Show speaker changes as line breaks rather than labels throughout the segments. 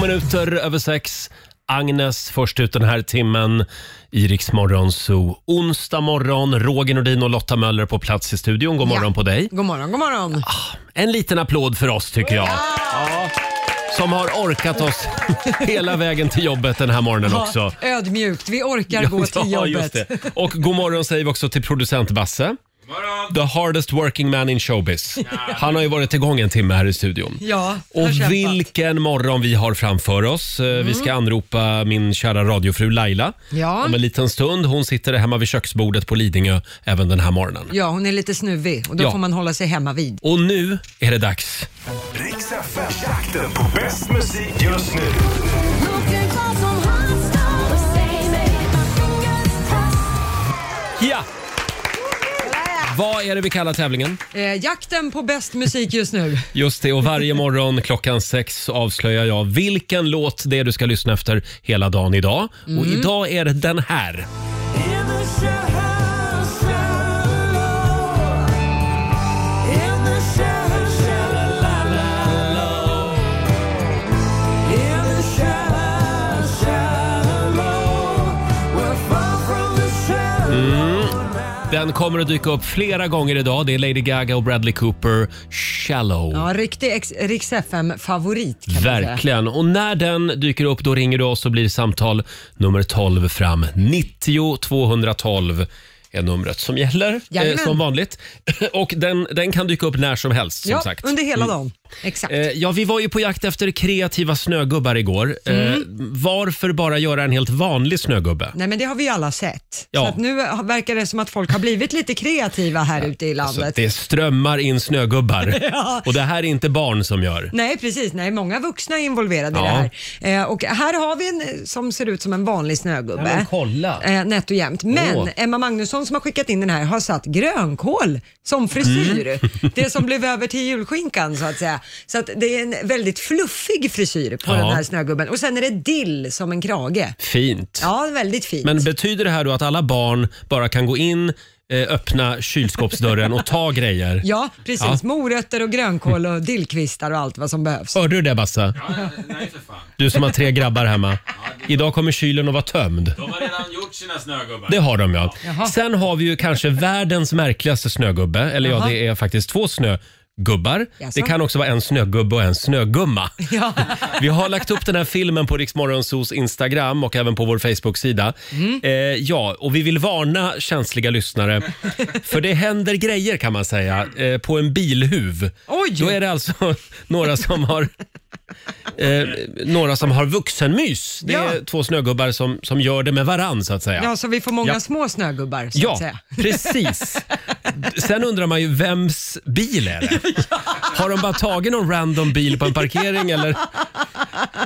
minuter över sex. Agnes först ut den här timmen i Rix Morgon Zoo. Onsdag morgon, Roger Nordin och Lotta Möller på plats i studion. God morgon på dig.
God morgon, god morgon.
Ah, En liten applåd för oss tycker jag. Ja. Som har orkat oss hela vägen till jobbet den här morgonen också.
Ja, ödmjukt, vi orkar gå till
Ja,
jobbet.
just det. Och god morgon säger vi också till producent Basse. The hardest working man in showbiz. Han har ju varit igång en timme här i studion.
Ja,
Och
jag kämpar.
vilken morgon vi har framför oss. Eh, Vi ska anropa min kära radiofru Laila
Mm. Ja.
om en liten stund. Hon sitter hemma vid köksbordet på Lidingö även den här morgonen.
Ja, hon är lite snuvig och då
Ja.
får man hålla sig hemma vid.
Och nu är det dags.
Riks FM-jakten på bäst musik just nu.
Ja! Vad är det vi kallar tävlingen?
Eh, jakten på bäst musik just nu.
Just det, och varje morgon klockan sex avslöjar jag vilken låt det är du ska lyssna efter hela dagen idag. Och
Mm.
idag är det den här.
Mm.
Den kommer att dyka upp flera gånger idag. Det är Lady Gaga och Bradley Cooper, Shallow.
Ja, riktig ex- Rix FM-favorit kan man säga.
Verkligen. Och när den dyker upp då ringer du oss och blir samtal nummer 12 fram. 90 212 är numret som gäller, eh,
Jajamän.
som vanligt. Och den, den kan dyka upp när som helst, som
Ja,
sagt. Mm.
under hela dagen. Exakt.
Eh, Ja, vi var ju på jakt efter kreativa snögubbar igår. Eh,
Mm.
varför bara göra en helt vanlig snögubbe?
Nej, men det har vi ju alla sett.
Ja.
Så att nu verkar det som att folk har blivit lite kreativa här ute i
Alltså,
landet.
det strömmar in snögubbar. Och det här är inte barn som gör.
Nej, precis. Nej, många vuxna är involverade
Ja.
i det här. Eh, och här har vi en eh, som ser ut som en vanlig snögubbe.
Ja, men kolla.
Eh, nätt och jämnt. Men
Åh.
Emma Magnusson som har skickat in den här har satt grönkål som frisyr.
Mm.
Det som blev över till julskinkan så att säga. Så att det är en väldigt fluffig frisyr
Ja.
på den här snögubben. Och sen är det dill som en krage.
Fint.
Ja, väldigt fint.
Men betyder det här då att alla barn bara kan gå in, eh, öppna kylskåpsdörren och ta grejer?
Ja, precis.
Ja.
Morötter och grönkål och dillkvistar och allt vad som behövs.
Hörde du det Bassa?
Nej för fan.
Du som har tre grabbar hemma. Idag kommer kylen att vara tömd.
De har redan gjort sina snögubbar.
Det har de ja.
Jaha.
Sen har vi ju kanske världens märkligaste snögubbe. Eller ja,
Jaha.
det är faktiskt två snögubbar.
Jaså?
Det kan också vara en snögubbe och en snögumma.
Ja.
Vi har lagt upp den här filmen på Riksmorgonsos Instagram och även på vår Facebook-sida.
Mm.
Eh, ja, och vi vill varna känsliga lyssnare. För det händer grejer kan man säga eh, på en bilhuv.
Oj!
Då är det alltså några som har eh, några som har vuxenmys. Det är
Ja.
två snögubbar som, som gör det med varann så att säga.
Ja, så vi får många
Ja.
små snögubbar så att
Ja,
säga.
precis. Sen undrar man ju, vems bil är det? Har de bara tagit någon random bil på en parkering eller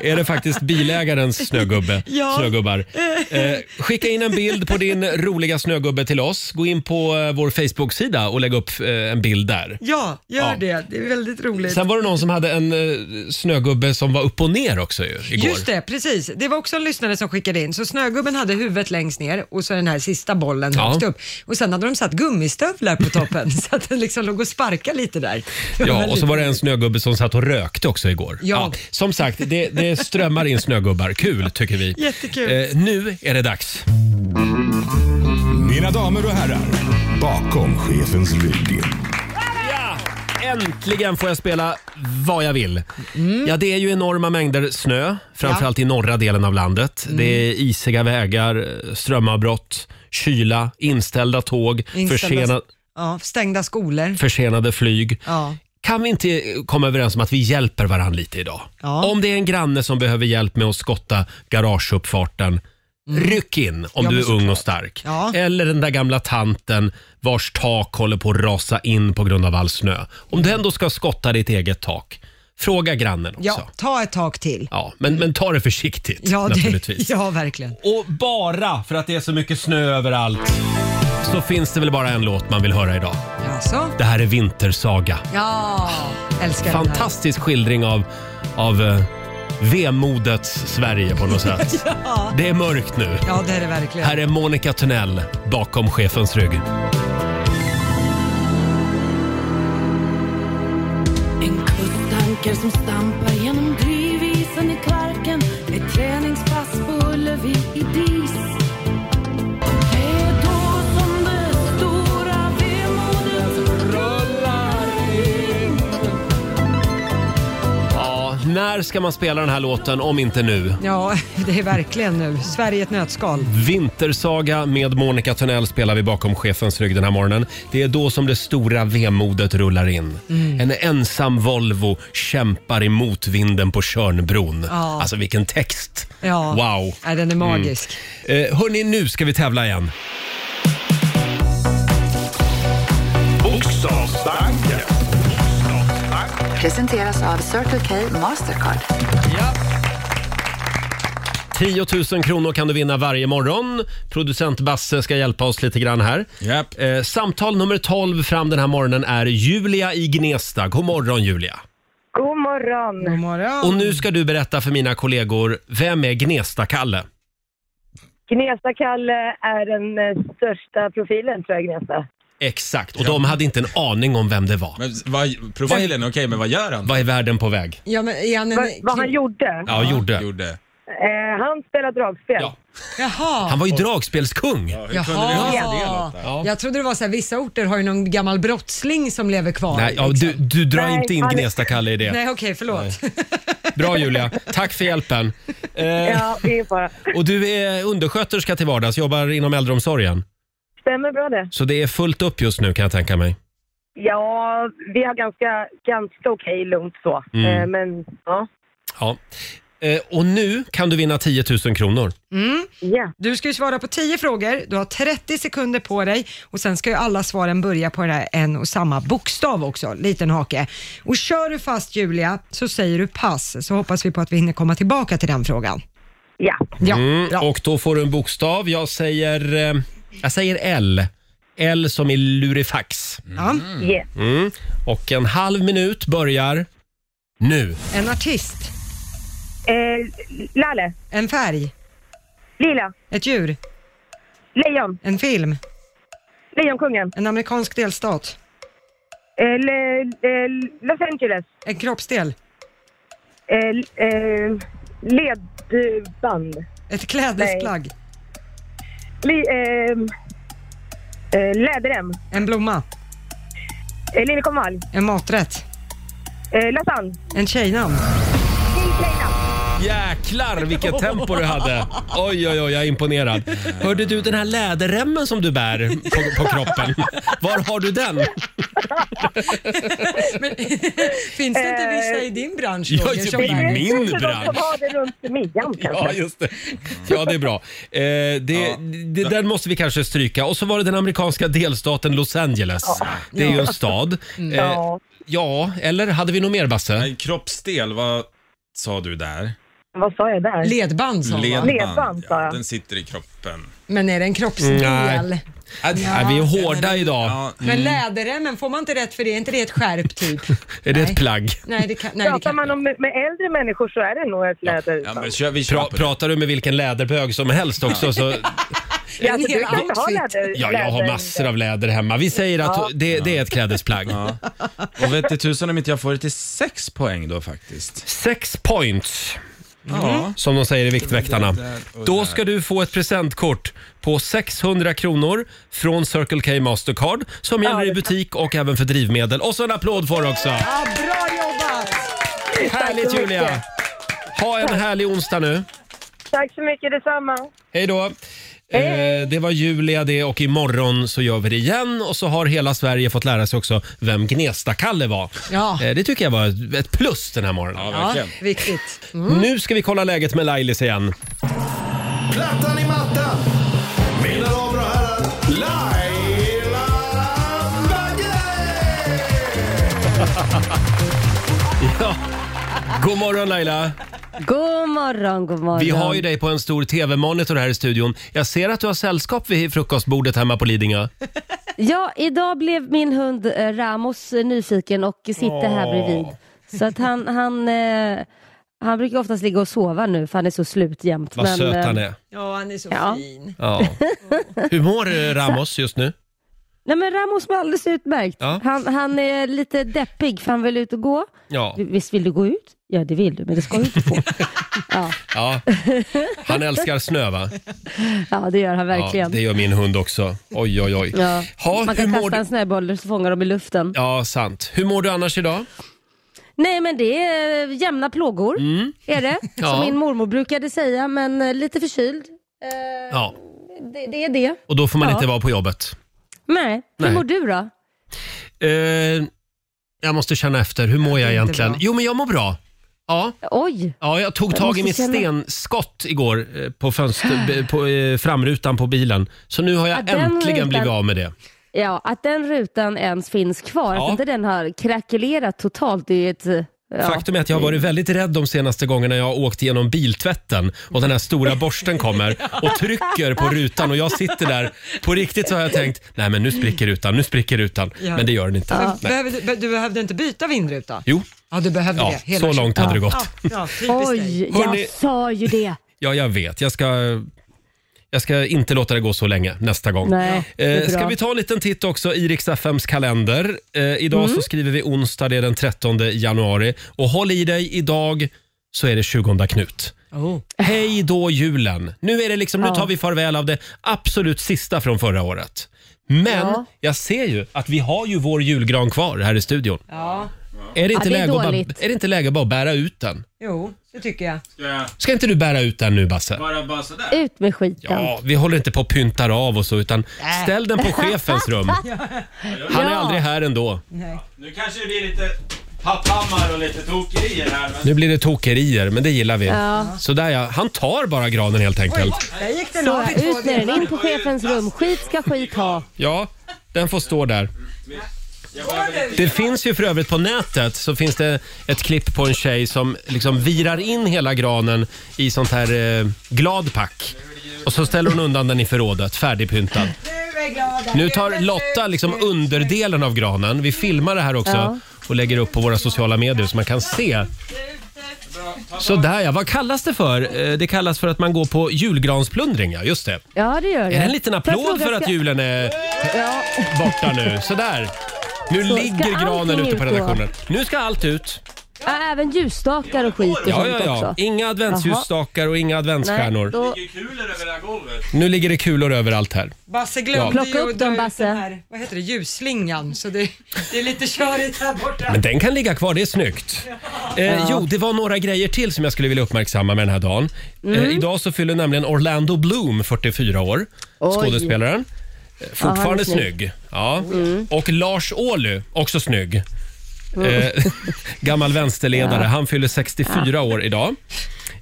är det faktiskt bilägarens snögubbe,
Ja.
snögubbar? Eh, skicka in en bild på din roliga snögubbe till oss. Gå in på eh, vår Facebook-sida och lägg upp eh, en bild där.
Ja, gör
Ja.
det. Det är väldigt roligt.
Sen var det någon som hade en eh, snögubbe som var upp och ner också ju, igår.
Just det, precis. Det var också en lyssnare som skickade in. Så snögubben hade huvudet längst ner och så den här sista bollen
Ja.
högst upp. Och sen hade de satt gummistövlar på toppen så att den liksom låg och sparkade lite där.
Ja, och så var det en snögubbe som satt och rökte också igår.
Ja.
som sagt, det, det strömmar in snögubbar. Kul tycker vi.
Jättekul.
Eh, nu är det dags.
Mina damer och herrar, bakom chefens rygg.
Ja! Äntligen får jag spela vad jag vill.
Mm.
Ja, det är ju enorma mängder snö, framförallt i norra delen av landet.
Mm.
Det är isiga vägar, strömavbrott, kyla, inställda tåg,
Inställda-
försena,
Ja, stängda skolor.
försenade flyg.
Ja.
Kan vi inte komma överens om att vi hjälper varandra lite idag?
Ja.
Om det är en granne som behöver hjälp med att skotta garageuppfarten, ryck in om
Mm. Ja,
du
men
är ung och stark.
Ja.
Eller den där gamla tanten vars tak håller på att rasa in på grund av all snö. Om du ändå ska skotta ditt eget tak, fråga grannen också.
Ja,
Ja.
ta ett tak till.
men, men ta det försiktigt
Ja,
naturligtvis.
det, ja verkligen.
Och bara för att det är så mycket snö överallt så finns det väl bara en låt man vill höra idag.
Alltså.
Det här är Vintersaga.
Ja, älskar den här.
fantastisk skildring av, av eh, vemodets Sverige på något sätt. Det är mörkt nu.
Ja, det är det verkligen.
Här är Monica Tunnell bakom chefens rygg.
En kusttanker som stampar genom drivisen Snoppen i Kvarken, ett träningspass på Ullevi i dis. Det är då som det stora vemodet rullar in.
Ja, när ska man spela den här låten om inte nu?
Ja, det är verkligen nu. Sverige i ett nötskal.
Vintersaga med Monica Tunnell spelar vi bakom chefens rygg den här morgonen. Det är då som det stora vemodet rullar in.
Mm.
En ensam Volvo kämpar emot vinden på Tjörnbron.
Ja.
Alltså vilken text!
Ja.
Wow!
Ja, den är magisk.
Eh, hörni, nu ska vi tävla igen.
Bokstavsbanken.
Presenteras av Circle K Mastercard.
10 000 kronor kan du vinna varje morgon. Producent Basse ska hjälpa oss lite grann här.
Japp.
Eh, samtal nummer 12 fram den här morgonen är Julia i Gnesta. God morgon Julia!
God morgon.
God morgon.
Mm. Och nu ska du berätta för mina kollegor, vem är Gnesta-Kalle?
Gnesta-Kalle är den eh, största profilen tror jag, Gnesta.
Exakt, och de hade inte en aning om vem det var.
Men vad, profilen, okej, men vad gör han?
Vad är världen på väg?
Ja, men är han en...
Vad, vad han gjorde?
Ja, gjorde.
gjorde.
Eh, han spelar dragspel.
Ja.
Jaha.
Han var ju dragspelskung.
Hur
Jaha.
kunde du missa det Lotta?
Ja.
Jag trodde det var så här, vissa orter har ju någon gammal brottsling som lever kvar.
Nej, ja,
liksom.
du, du drar
Nej,
inte in
han-
Gnesta-Kalle i det.
Nej, okej, förlåt.
Bra Julia, tack för hjälpen. Eh,
Ja, det är bara.
Och du är undersköterska till vardags, jobbar inom äldreomsorgen.
Stämmer bra det.
Så det är fullt upp just nu kan jag tänka mig.
Ja, vi har ganska, ganska okej lugnt så. Eh, men ja.
Ja. Eh, Och nu kan du vinna 10 000 kronor.
ja.
Du ska ju svara på 10 frågor, du har 30 sekunder på dig och sen ska ju alla svaren börja på den här en och samma bokstav också, liten hake. Och kör du fast Julia så säger du pass, så hoppas vi på att vi hinner komma tillbaka till den frågan.
ja.
Ja,
Mm,
bra.
och då får du en bokstav. Jag säger, eh, jag säger L. L som i lurifax.
Ja.
Mm.
Yeah.
Och en halv minut börjar nu.
En artist,
Eh, Lalle.
en färg,
Lila.
ett djur,
Lejon.
en film,
Lejonkungen.
en amerikansk delstat,
Eh, le, eh, Los Angeles.
en kroppsdel,
Eh, eh, ledband.
ett klädesplagg,
Li, eh, eh, läderrem.
en blomma,
Eh, Liljekonvalj.
en maträtt,
Eh, lasagne.
en tjejnamn.
Jäklar vilket tempo du hade! Oj, oj, oj, jag är imponerad. Hörde du den här läderremmen som du bär på, på kroppen? Var har du den?
Men, finns det inte vissa i din bransch?
Ja,
Roger,
det
som
blir
är-
min
Det är inte
bransch.
De som har det runt midjan kanske.
typ Ja, just det. Ja, det är bra. Eh, det, det, den måste vi kanske stryka. Och så var det den amerikanska delstaten Los Angeles. Det är ju en stad. Eh,
Mm. Ja.
ja, eller hade vi något mer, Basse?
Nej, kroppsdel, vad sa du där?
Vad sa jag där?
Ledband som va?
Ledband, sa
ja,
jag.
den sitter i kroppen.
Men är det en kroppsdel?
Nej. Mm. Nej, Äh, vi är hårda idag.
Ja,
Men läderremmen, får man inte rätt för det? Är inte det ett skärp typ?
Är det ett plagg?
Nej, det kan, nej, det
Pratar
kan.
man om med äldre människor så är det nog ett läder.
ja men kör, vi kör
Pra,
på det.
pratar du med vilken läderbög som helst också så...
En
alltså,
hel
du kan inte ha
outfit.
läder.
Ja, jag har
läder-
massor av läder hemma. Vi säger att det, det är ett klädesplagg.
Och vet du tusan om inte jag får det till sex poäng då faktiskt.
Sex points,
Ja.
som de säger i Viktväktarna.
Där och
Då
där.
ska du få ett presentkort på 600 kronor från Circle K Mastercard som gäller i butik och även för drivmedel. Och så en applåd för också.
Ja, bra jobbat!
Härligt
så mycket.
Julia! Ha en härlig onsdag nu.
Tack så mycket, detsamma.
Hej då! Eh, det var Julia det och imorgon så gör vi det igen och så har hela Sverige fått lära sig också vem Gnesta-Kalle var.
Ja.
Eh, det tycker jag var ett- ett plus den här morgonen.
Ja,
Ja,
verkligen.
viktigt. Mm.
Nu ska vi kolla läget med Lailis igen.
Plattan i mattan. Mina damer och herrar, Laila Bagge!
Ja. God morgon Laila!
God morgon, god morgon.
Vi har ju dig på en stor TV-monitor här i studion. Jag ser att du har sällskap vid frukostbordet hemma på Lidingö.
Ja, idag blev min hund eh, Ramos eh, nyfiken och sitter här bredvid. Så att han, han, eh, han brukar oftast ligga och sova nu för han är så slut jämt.
Vad söt
eh,
han är.
Ja, han är så
Ja.
fin.
Ja. Hur mår eh, Ramos just nu?
Nej men Ramos mår alldeles utmärkt.
Ja.
Han, han är lite deppig för han vill ut och gå.
Ja.
Visst vill du gå ut? Ja, det vill du, men det ska du inte få. ja,
Ja. Han älskar snö va?
ja, det gör han
Ja,
verkligen.
det gör min hund också. Oj, oj, oj.
Ja.
Ha,
Man
hur
kan
mår
kasta
du?
en snöboll så fångar de i luften.
Ja, sant. Hur mår du annars idag?
Nej, men det är eh, jämna plågor, är det.
Ja.
Som min mormor brukade säga, men eh, lite förkyld.
Ja,
Det, det är det.
och då får man
Ja.
inte vara på jobbet.
Nej, hur
Nej.
mår du då?
Eh, jag måste känna efter. Hur mår jag
inte
egentligen?
bra.
Jo, men jag mår bra. Ja,
Oj,
ja jag tog tag i
måste
mitt
känna-
stenskott igår eh, på, fönster, b- på eh, framrutan på bilen. Så nu har jag
Ja, den
äntligen
rutan.
blivit av med det.
ja, att den rutan ens finns kvar,
Ja.
att inte den har krackelerat totalt, det är ju ett... eh, Ja.
Faktum är att jag har varit väldigt rädd de senaste gångerna jag har åkt genom biltvätten och den här stora borsten kommer och trycker på rutan och jag sitter där. På riktigt så har jag tänkt, nej men nu spricker rutan, nu spricker rutan.
Ja.
Men det gör den inte. Nej.
Behöver du, du behövde inte byta vindruta?
Jo,
Ja, du behövde
ja,
det. Hela
så långt hade det gått.
Ja, ja, typiskt dig.
Oj,
Hörni-
jag sa ju det.
Ja, jag vet. Jag ska, jag ska inte låta det gå så länge nästa gång.
Nej, det
Eh,
är
ska
bra.
vi ta en liten titt också i Rix FMs kalender. Eh, idag
Mm.
så skriver vi onsdag, det är den 13 januari. Och håll i dig, idag så är det 20 Knut.
Oh.
Hej då julen! Nu, är det liksom, nu
Ja.
tar vi farväl av det absolut sista från förra året. Men
Ja.
jag ser ju att vi har ju vår julgran kvar här i studion.
Ja,
Är, det inte
det är
läge att bara,
dåligt.
är det inte läge att bara bära ut den?
jo, det tycker jag.
Ska jag
Ska inte du bära ut den nu Basse?
bara, bara sådär?
Ut med skiten.
Ja, vi håller inte på och pyntar av och så utan ställ den på chefens rum. Han är
Ja.
aldrig här ändå.
Nej.
Nu kanske det blir lite papphammar och lite tokerier här. Men...
Nu blir det tokerier, men det gillar vi.
Ja.
Så där ja, han tar bara granen helt enkelt.
Där gick den
Så,
av i två
ut med den, in
delar.
på chefens rum. Skit ska skit ha.
Ja, den får stå där.
Jag behöver lite...
Det finns ju för övrigt på nätet så finns det ett klipp på en tjej som liksom virar in hela granen i sånt här eh, gladpack. Och så ställer hon undan den i förrådet, färdigpyntad.
Nu är glada.
Nu tar Lotta liksom underdelen av granen. Vi filmar det här också
Ja.
och lägger upp på våra sociala medier så man kan se. Sådär ja, vad kallas det för? Eh, Det kallas för att man går på julgransplundring, ja just det.
Ja, det gör det.
Är det en liten
Får jag
applåd
fråga,
för att
ska-
julen är
Ja.
borta nu? Sådär. Nu
ska
ligger granen
allting
ute på
ut då?
redaktionen. Nu ska allt ut.
Ja, även ljusstakar och skit och
Ja,
sånt
ja,
också.
ja. Inga adventsljusstakar och inga
Nej,
adventsstjärnor.
då,
Kulor över det här golvet.
Nu ligger det kulor överallt här.
Basse
Ja.
glömde
Plocka
ju
upp
att dra
dem,
ut
Basse.
den här, vad heter det, ljusslingan. Så det, det är lite körigt här borta.
Men den kan ligga kvar, det är snyggt. Eh, Jo, det var några grejer till som jag skulle vilja uppmärksamma med den här dagen.
Mm.
Eh, idag så fyller nämligen Orlando Bloom 44 år,
Oj.
skådespelaren. Eh,
Ja, han
Fortfarande
är snygg. Mm.
snygg. Ja. Och Lars Ohly, också snygg. Eh, gammal vänsterledare. Han fyller 64 år idag.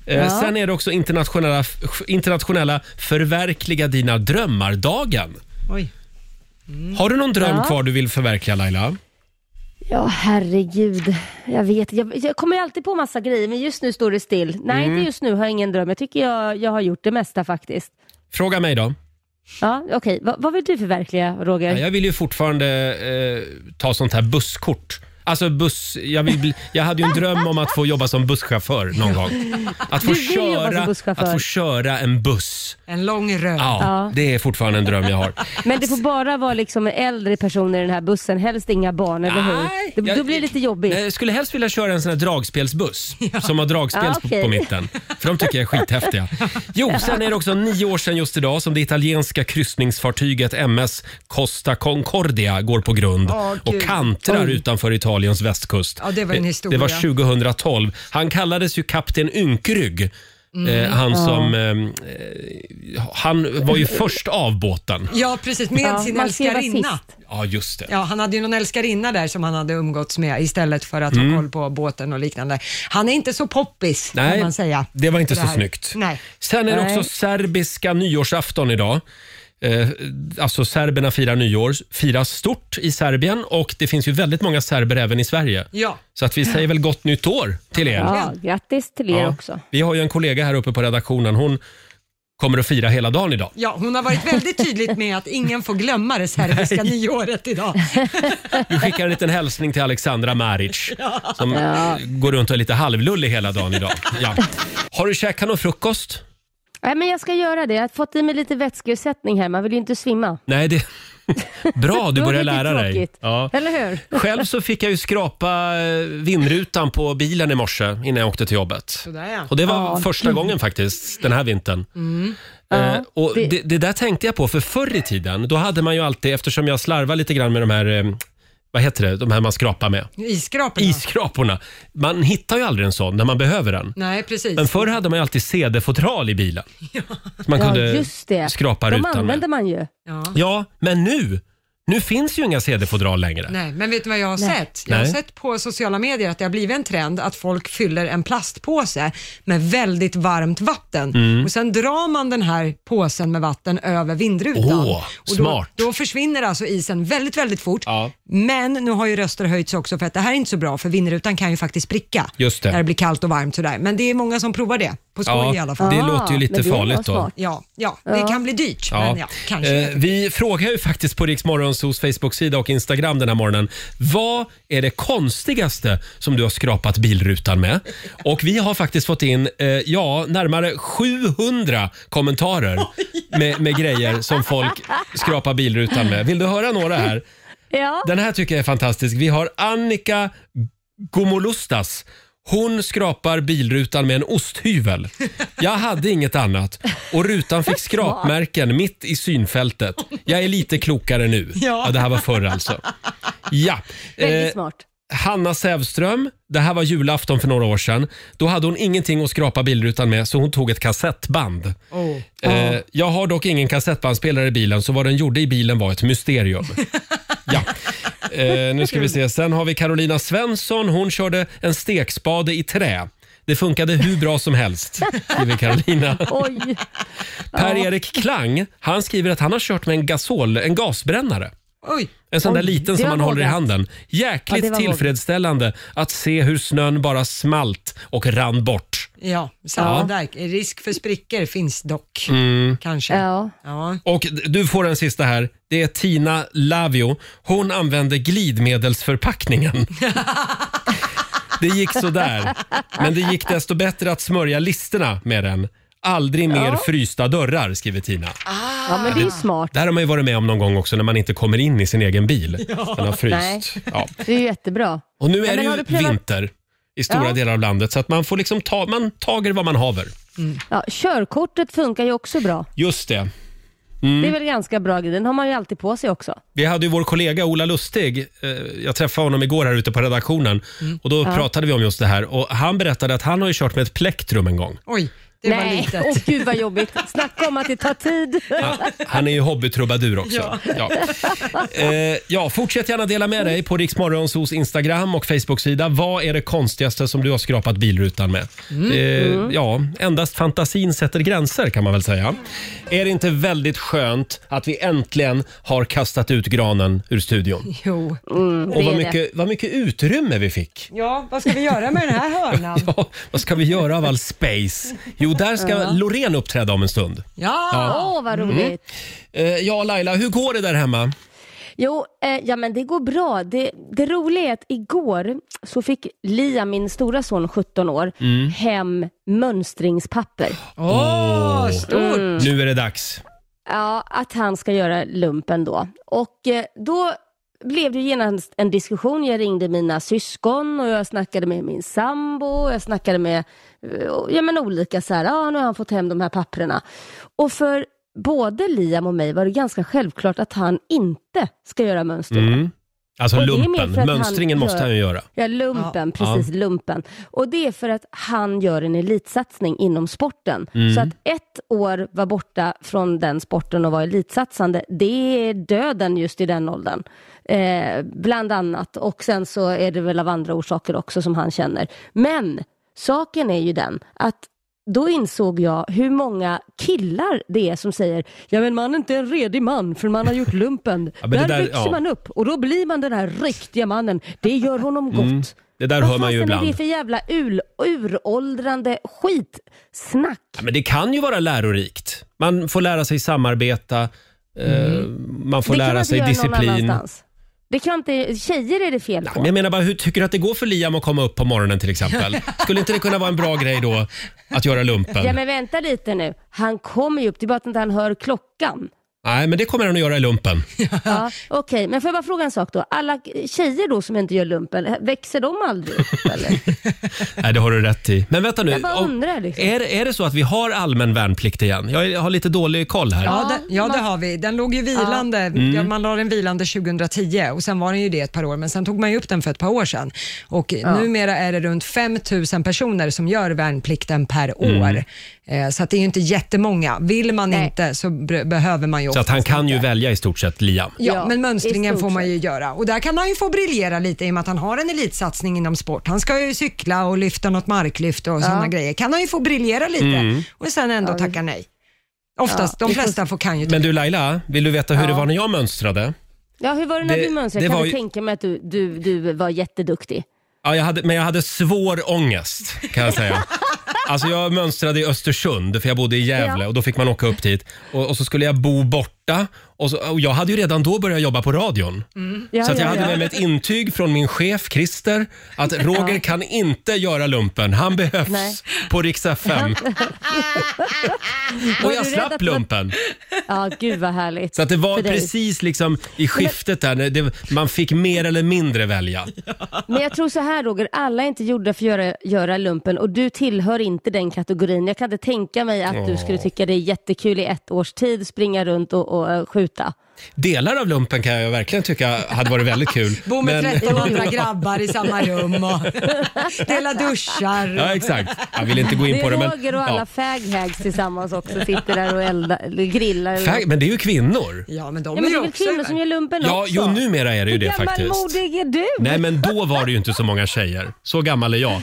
Eh, Sen är det också internationella, internationella förverkliga dina drömmar-dagen.
Oj.
Har du någon dröm
Ja.
kvar du vill förverkliga Laila?
ja, herregud. Jag vet jag, jag kommer ju alltid på massa grejer, men just nu står det still. Nej,
Mm.
inte just nu har jag ingen dröm. Jag tycker jag, jag har gjort det mesta faktiskt.
Fråga mig då.
Ja, okej. Va, vad vill du förverkliga, Roger?
Ja, Jag vill ju fortfarande eh, ta sånt här busskort. Alltså buss, jag, vill bli, jag hade ju en dröm om att få jobba som busschaufför någon gång. Att få,
Du vill jobba som
köra,
busschaufför.
att få köra en buss.
En lång röd.
Ja,
Ja.
det är fortfarande en dröm jag har.
Men det får bara vara liksom äldre personer i den här bussen, helst inga barn, eller
Nej,
hur? Det,
jag-
då blir det lite jobbigt.
Jag skulle helst vilja köra en sån här dragspelsbuss som har dragspel
Ja,
på-
okej.
på mitten. För de tycker jag är skithäftiga. Jo, sen är det också nio år sedan just idag som det italienska kryssningsfartyget MS Costa Concordia går på grund
Åh,
och
Gud.
kantrar utanför Italiens västkust.
Ja, det var en
Eh,
historia.
Det var 2012. Han kallades ju kapten Ynkrygg. Eh,
Mm,
han som... ehm, Eh, han var ju först av båten.
Ja, precis. Med
Ja,
sin
man ska ju vara
älskarinna.
sist.
Ja, just det.
Ja, han hade ju någon älskarinna där som han hade umgåtts med istället för att
Mm.
ha koll på båten och liknande. Han är inte så poppis, kan man säga.
det var inte
Det
så
här-
snyggt.
Nej.
Sen är det
Nej.
också serbiska nyårsafton idag. Eh, alltså serberna firar nyår, firas stort i Serbien och det finns ju väldigt många serber även i Sverige.
Ja.
Så att vi säger väl gott nytt år till er.
Ja, grattis till er
Ja.
också.
Vi har ju en kollega här uppe på redaktionen. Hon kommer att fira hela dagen idag.
Ja, hon har varit väldigt tydligt med att ingen får glömma det serbiska nyåret idag.
Vi skickar en liten hälsning till Alexandra Maric som eh, går runt och är lite halvlullig hela dagen idag. Ja. Har du käkat någon frukost?
Nej, men jag ska göra det. Jag har fått i mig lite vätskeersättning här. Man vill ju inte svimma.
Nej, det, Bra, du
Då är
börjar
det lite
lära dig.
tråkigt.
Ja.
Eller hur?
Själv så fick jag ju skrapa eh, vindrutan på bilen i morse innan jag åkte till jobbet.
Sådär ja.
Och det var
Ja. Mm.
första gången faktiskt den här vintern. Eh,
Ja,
och
det-
det... Det, där tänkte jag på, för förr i tiden, då hade man ju alltid, eftersom jag slarvar lite grann med de här, eh, vad heter det, de här man skrapar med.
Isskraporna.
Isskraporna. Man hittar ju aldrig en sån när man behöver den.
Nej, precis.
Men förr hade man ju alltid CD-fodral i bilen. Så man
Ja,
kunde
just det.
skrapa
De
rutan
använder
med.
man ju.
Ja.
Ja, men nu, nu finns ju inga CD-fodral längre.
Nej, men vet du vad jag har sett? Jag har
Nej.
sett på sociala medier att det har blivit en trend att folk fyller en plastpåse med väldigt varmt vatten
Mm.
och sen drar man den här påsen med vatten över vindrutan.
Åh,
och då,
smart.
då försvinner alltså isen väldigt, väldigt fort.
Ja.
Men nu har ju röster höjts också för att det här är inte så bra för vindrutan kan ju faktiskt spricka
Just det.
när det blir kallt och varmt sådär. Men det är många som provar det, på skoj i alla fall.
det
Ah,
låter ju lite
men det var
farligt då.
smart.
Ja, ja, det kan bli dyrt, men ja, kanske.
Eh, vi frågar ju faktiskt på Riksmorgonsos Facebook-sida och Instagram den här morgonen. Vad är det konstigaste som du har skrapat bilrutan med? Och vi har faktiskt fått in, eh, ja, närmare 700 kommentarer med, med grejer som folk skrapar bilrutan med. Vill du höra några här?
Ja.
Den här tycker jag är fantastisk. Vi har Annika Gomolustas. Hon skrapar bilrutan med en osthyvel. Jag hade inget annat och rutan fick skrapmärken mitt i synfältet. Jag är lite klokare nu.
Ja.
Ja, det här var förr alltså. Ja.
Väldigt
Eh,
smart.
Hanna Sävström, det här var julafton för några år sedan. Då hade hon ingenting att skrapa bilrutan med så hon tog ett kassettband.
Åh.
Eh, jag har dock ingen kassettbandspelare i bilen, så vad den gjorde i bilen var ett mysterium. ja. eh, nu ska vi se. Sen har vi Carolina Svensson. Hon körde en stekspade i trä. Det funkade hur bra som helst, skriver Carolina.
Oj.
Per-Erik Klang han skriver att han har kört med en, gasol, en gasbrännare.
Oj,
En sån där
Oj,
liten
det
som
var
man håller i
vågat.
handen. Jäkligt
Ja, det var
tillfredsställande att se hur snön bara smalt och rann bort.
ja, samma där. Risk för sprickor finns dock,
Mm.
kanske.
Ja.
Ja.
Och d- du får en sista här. Det är Tina Lavio. Hon använde glidmedelsförpackningen. Det gick så där. men det gick desto bättre att smörja listerna med den. Aldrig mer frysta dörrar, skriver Tina.
ja, men det är ju smart.
Det här har man ju varit med om någon gång också när man inte kommer in i sin egen bil. Den har fryst.
Nej.
Ja.
Det är ju jättebra.
Och nu
Ja,
är det
men har
ju
du prövat-
vinter i stora
Ja.
delar av landet så att man får liksom ta, man tager vad man haver.
Ja, körkortet funkar ju också bra.
Just det.
Det
Mm.
är väl ganska bra grej. Den har man ju alltid på sig också.
Vi hade ju vår kollega Ola Lustig, eh, jag träffade honom igår här ute på redaktionen
Mm.
och då pratade vi om just det här och han berättade att han har ju kört med ett plektrum en gång.
Oj, det var
Nej,
litet.
åh gud vad jobbigt. Snacka om att det tar tid.
Han, han är ju hobbytrubadur också. Ja.
Ja.
Ja. Eh, ja, fortsätt gärna dela med dig på Riksmorgonsos Instagram och Facebook-sida. Vad är det konstigaste som du har skrapat bilrutan med?
Mm.
Eh, ja, endast fantasin sätter gränser kan man väl säga. Är det inte väldigt skönt att vi äntligen har kastat ut granen ur studion?
Jo.
Och vad
är Mm, det.
mycket, vad mycket utrymme vi fick.
Ja, vad ska vi göra med den här hörnan?
Ja, vad ska vi göra av all space? Jo, där ska Loreen uppträda om en stund.
Ja,
Åh, vad roligt.
Eh, ja, Laila, hur går det där hemma?
Jo, eh, ja men det går bra. Det, det roliga är att igår så fick Lia, min stora son 17 år,
Mm.
hem mönstringspapper. Mm.
Åh, stort!
Nu är det dags.
Ja, att han ska göra lumpen då. Och eh, då blev det ju genast en diskussion. Jag ringde mina syskon och jag snackade med min sambo och jag snackade med eh, ja, men olika så här, ja nu har han fått hem de här papperna. Och för både Liam och mig var det ganska självklart att han inte ska göra mönstringen.
Alltså
Och det är mer
lumpen.
för att han
Mönstringen måste
gör-
han ju göra.
Ja, lumpen, precis, lumpen. Och det är för att han gör en elitsatsning inom sporten.
Mm.
Så att ett år vara borta från den sporten och vara elitsatsande, det är döden just i den åldern. Eh, bland annat. Och sen så är det väl av andra orsaker också som han känner. Men saken är ju den att då insåg jag hur många killar det är som säger, ja men man är inte en redig man för man har gjort lumpen.
Ja, men det
där,
där-
växer
ja.
man upp och då blir man den här riktiga mannen. Det gör honom gott.
Mm. Det där hör man ju
Vad fasen är det
ibland.
för jävla ul, uråldrande skitsnack?
Ja, men det kan ju vara lärorikt. Man får lära sig samarbeta, eh, man får
Mm. det kan man
lära
inte
sig
göra Någon
disciplin.
annanstans. det kan inte, tjejer är det fel på.
Men jag menar bara, hur tycker du att det går för Liam att komma upp på morgonen till exempel? Skulle inte det kunna vara en bra grej då, att göra lumpen?
Ja men vänta lite nu, han kommer ju upp, det är bara att inte han hör klockan.
Nej, men det kommer han att göra i lumpen.
Ja, Okej, men får jag bara fråga en sak då? Alla tjejer då som inte gör lumpen, växer de aldrig upp eller?
Nej, det har du rätt i. Men vänta nu.
Jag bara
om-
undrar, liksom.
är, det- är det så att vi har allmän värnplikt igen? Jag har lite dålig koll här.
Ja,
Mm.
det, ja, det har vi. Den låg ju vilande.
Mm.
Ja, man la den vilande 2010 och sen var den ju det ett par år, men sen tog man ju upp den för ett par år sedan. Och numera är det runt 5 000 personer som gör värnplikten per
Mm.
år. Eh, så att det är ju inte jättemånga. Vill man
Nej.
inte så br- behöver man ju
Så att han
oftast
kan
inte.
ju välja i stort sett, Liam.
Ja,
Ja,
men
i
mönstringen
stort
får man ju göra. Och där kan han ju få briljera lite i och med att han har en elitsatsning inom sport. Han ska ju cykla och lyfta något marklyft och sådana grejer. Kan han ju få briljera lite
Mm.
och sen ändå tacka nej. Oftast, de flesta får, kan ju
Men du Laila, vill du veta hur det var när jag mönstrade?
Ja, hur var det när
Det-
du mönstrade?
det
Kan
var
du
ju-
tänka mig att du, du, du var jätteduktig?
Ja, jag hade, men jag hade svår ångest kan jag säga. Alltså jag mönstrade i Östersund för jag bodde i Gävle
Ja.
och då fick man åka upp dit. Och, och så skulle jag bo borta och, så, och jag hade ju redan då börjat jobba på radion.
Ja,
Så att jag
ja,
hade
ja.
med mig ett intyg från min chef Christer att Roger kan inte göra lumpen. Han behövs
Nej.
på riks FM. Och
du
jag
rädd att
slapp
det var-
lumpen.
ja, gud vad härligt.
Så att det var
för dig.
precis liksom i skiftet där, när det, man fick mer eller mindre välja.
Men jag tror så här Roger, alla är inte gjorda för att göra, göra lumpen och du tillhör inte den kategorin. Jag kan inte tänka mig att du skulle tycka det är jättekul i ett års tid springa runt och, och eh, skjuta.
Delar av lumpen kan jag ju verkligen tycka hade varit väldigt kul.
Bo med
Men-
13 andra grabbar i samma rum och dela duschar.
Ja, exakt. Jag vill inte gå
Det
in på
är
det. Men,
Roger och alla
ja.
faghags tillsammans också sitter där och eldar, eller grillar. Eller
Fag, men det är ju kvinnor.
Ja, men de
Ja, men
är ju
det är väl
också
kvinnor som gör lumpen
Ja,
också?
jo numera är det ju
Hur
det faktiskt.
gammalmodig är du?
Nej, men då var det ju inte så många tjejer. Så gammal är jag.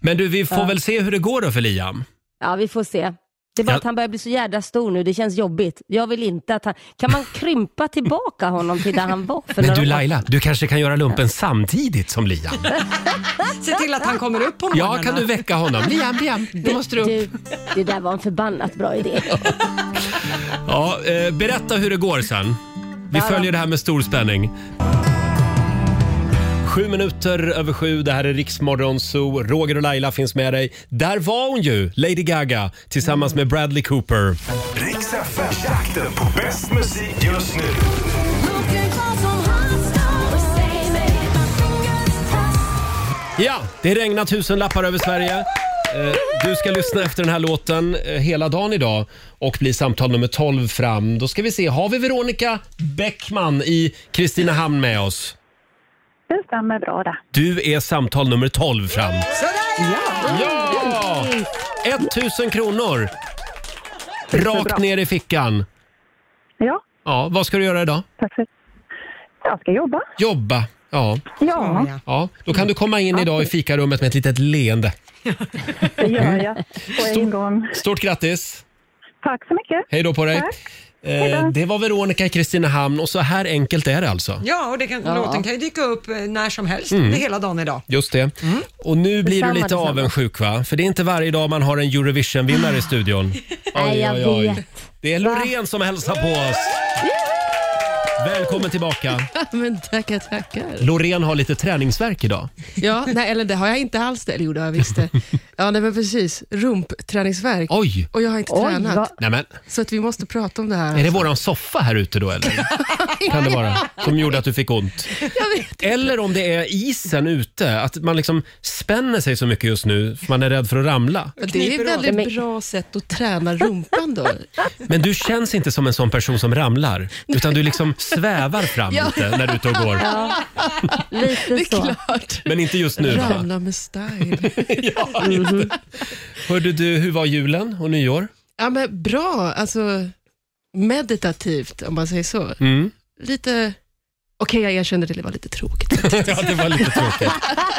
Men du, vi får väl se hur det går då för Liam.
Ja, vi får se. Det är bara
Ja.
att han börjar bli så jädra stor nu, det känns jobbigt. Jag vill inte att han... Kan man krympa tillbaka honom till där han var för
Men
några
du
år
Laila, du kanske kan göra lumpen samtidigt som Liam?
Se till att han kommer upp på
Ja,
morgnarna.
kan du väcka honom? Liam, Liam, nu måste du upp.
Du, det där var en förbannat bra idé.
Ja, eh, berätta hur det går sen. Vi följer det här med stor spänning. Sju minuter över sju, det här är Riksmorgon Zoo. Roger och Laila finns med dig. Där var hon ju, Lady Gaga, tillsammans med Bradley Cooper.
Riks FM-jakten på bäst musik just nu.
Ja, det regnar tusenlappar över Sverige. Eh, Du ska lyssna efter den här låten eh, hela dagen idag och bli samtal nummer 12 fram. Då ska vi se, har vi Veronica Bäckman i Kristinehamn med oss?
Det stämmer bra det.
Du är samtal nummer 12 fram.
Sådär ja!
Ja! 1000 kronor! Rakt ner i fickan.
Ja,
Ja, vad ska du göra idag?
tack så Jag ska jobba.
Jobba. Ja,
Ja,
ja.
ja, då kan du komma in idag i fikarummet med ett litet leende. Mm.
det gör jag. På en gång.
Stort grattis!
Tack så mycket.
Hej då på dig!
Tack.
Eh, det var Veronica i Kristinehamn och så här enkelt är det alltså.
Ja, och det kan, låten kan ju dyka upp eh, när som helst
Mm.
det är hela dagen idag.
Just det. Och nu blir du
Mm. Detsamma,
lite
detsamma.
avundsjuk va? För det är inte varje dag man har en Eurovision-vinnare i studion.
Nej, jag vet.
Det är Loreen som hälsar på oss. Välkommen tillbaka.
Men tackar, tackar.
Loreen har lite träningsverk idag.
Ja, nej, eller det har jag inte alls det. Eller jo, det har jag visst det. Ja, nej, men precis. Rumpträningsvärk.
Oj!
Och jag har inte
Oj,
tränat.
vad-
Nej men,
Så att vi måste prata om det här.
är det våran soffa här ute då eller? Kan det vara? Som gjorde att du fick ont?
Jag vet.
Eller om det är isen ute, att man liksom spänner sig så mycket just nu för man är rädd för att ramla.
Men Det är ett väldigt
Men-
bra sätt att träna rumpan då.
Men du känns inte som en sån person som ramlar, utan du liksom svävar fram
Ja.
lite när du är ute och går.
Det
Lite
är
så.
klart.
Men inte just nu va?
Ramla med style.
Ja, just det. Hörde du, hur var julen och nyår?
Ja, men bra, alltså meditativt om man säger så.
Mm.
Lite, okej jag erkänner det, det var lite tråkigt.
Ja, det var lite tråkigt.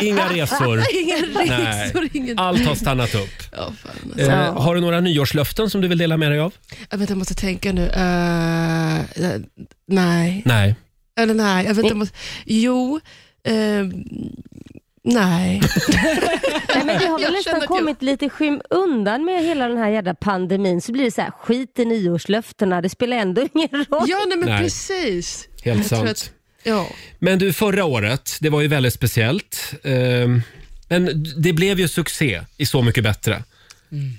Inga resor.
Inga resor, ingen...
Allt har stannat upp.
Ja, fan, alltså.
Eh, har du några nyårslöften som du vill dela med dig av?
jag, vet, Ah, jag måste tänka nu. Eh, eh, nej,
Nej.
eller nej. Jag vet, jag måste, jo, eh, nej.
Nej, men vi har väl
Jag
nästan
känner att jag-
kommit lite i skymundan med hela den här jävla pandemin. Så blir det så här, skit i nyårslöftena, det spelar ändå ingen roll.
Ja, nej men
Nej.
precis.
Helt
tror
sant.
att- Ja.
Men du, förra året, det var ju väldigt speciellt. Ehm, Men det blev ju succé i Så mycket bättre.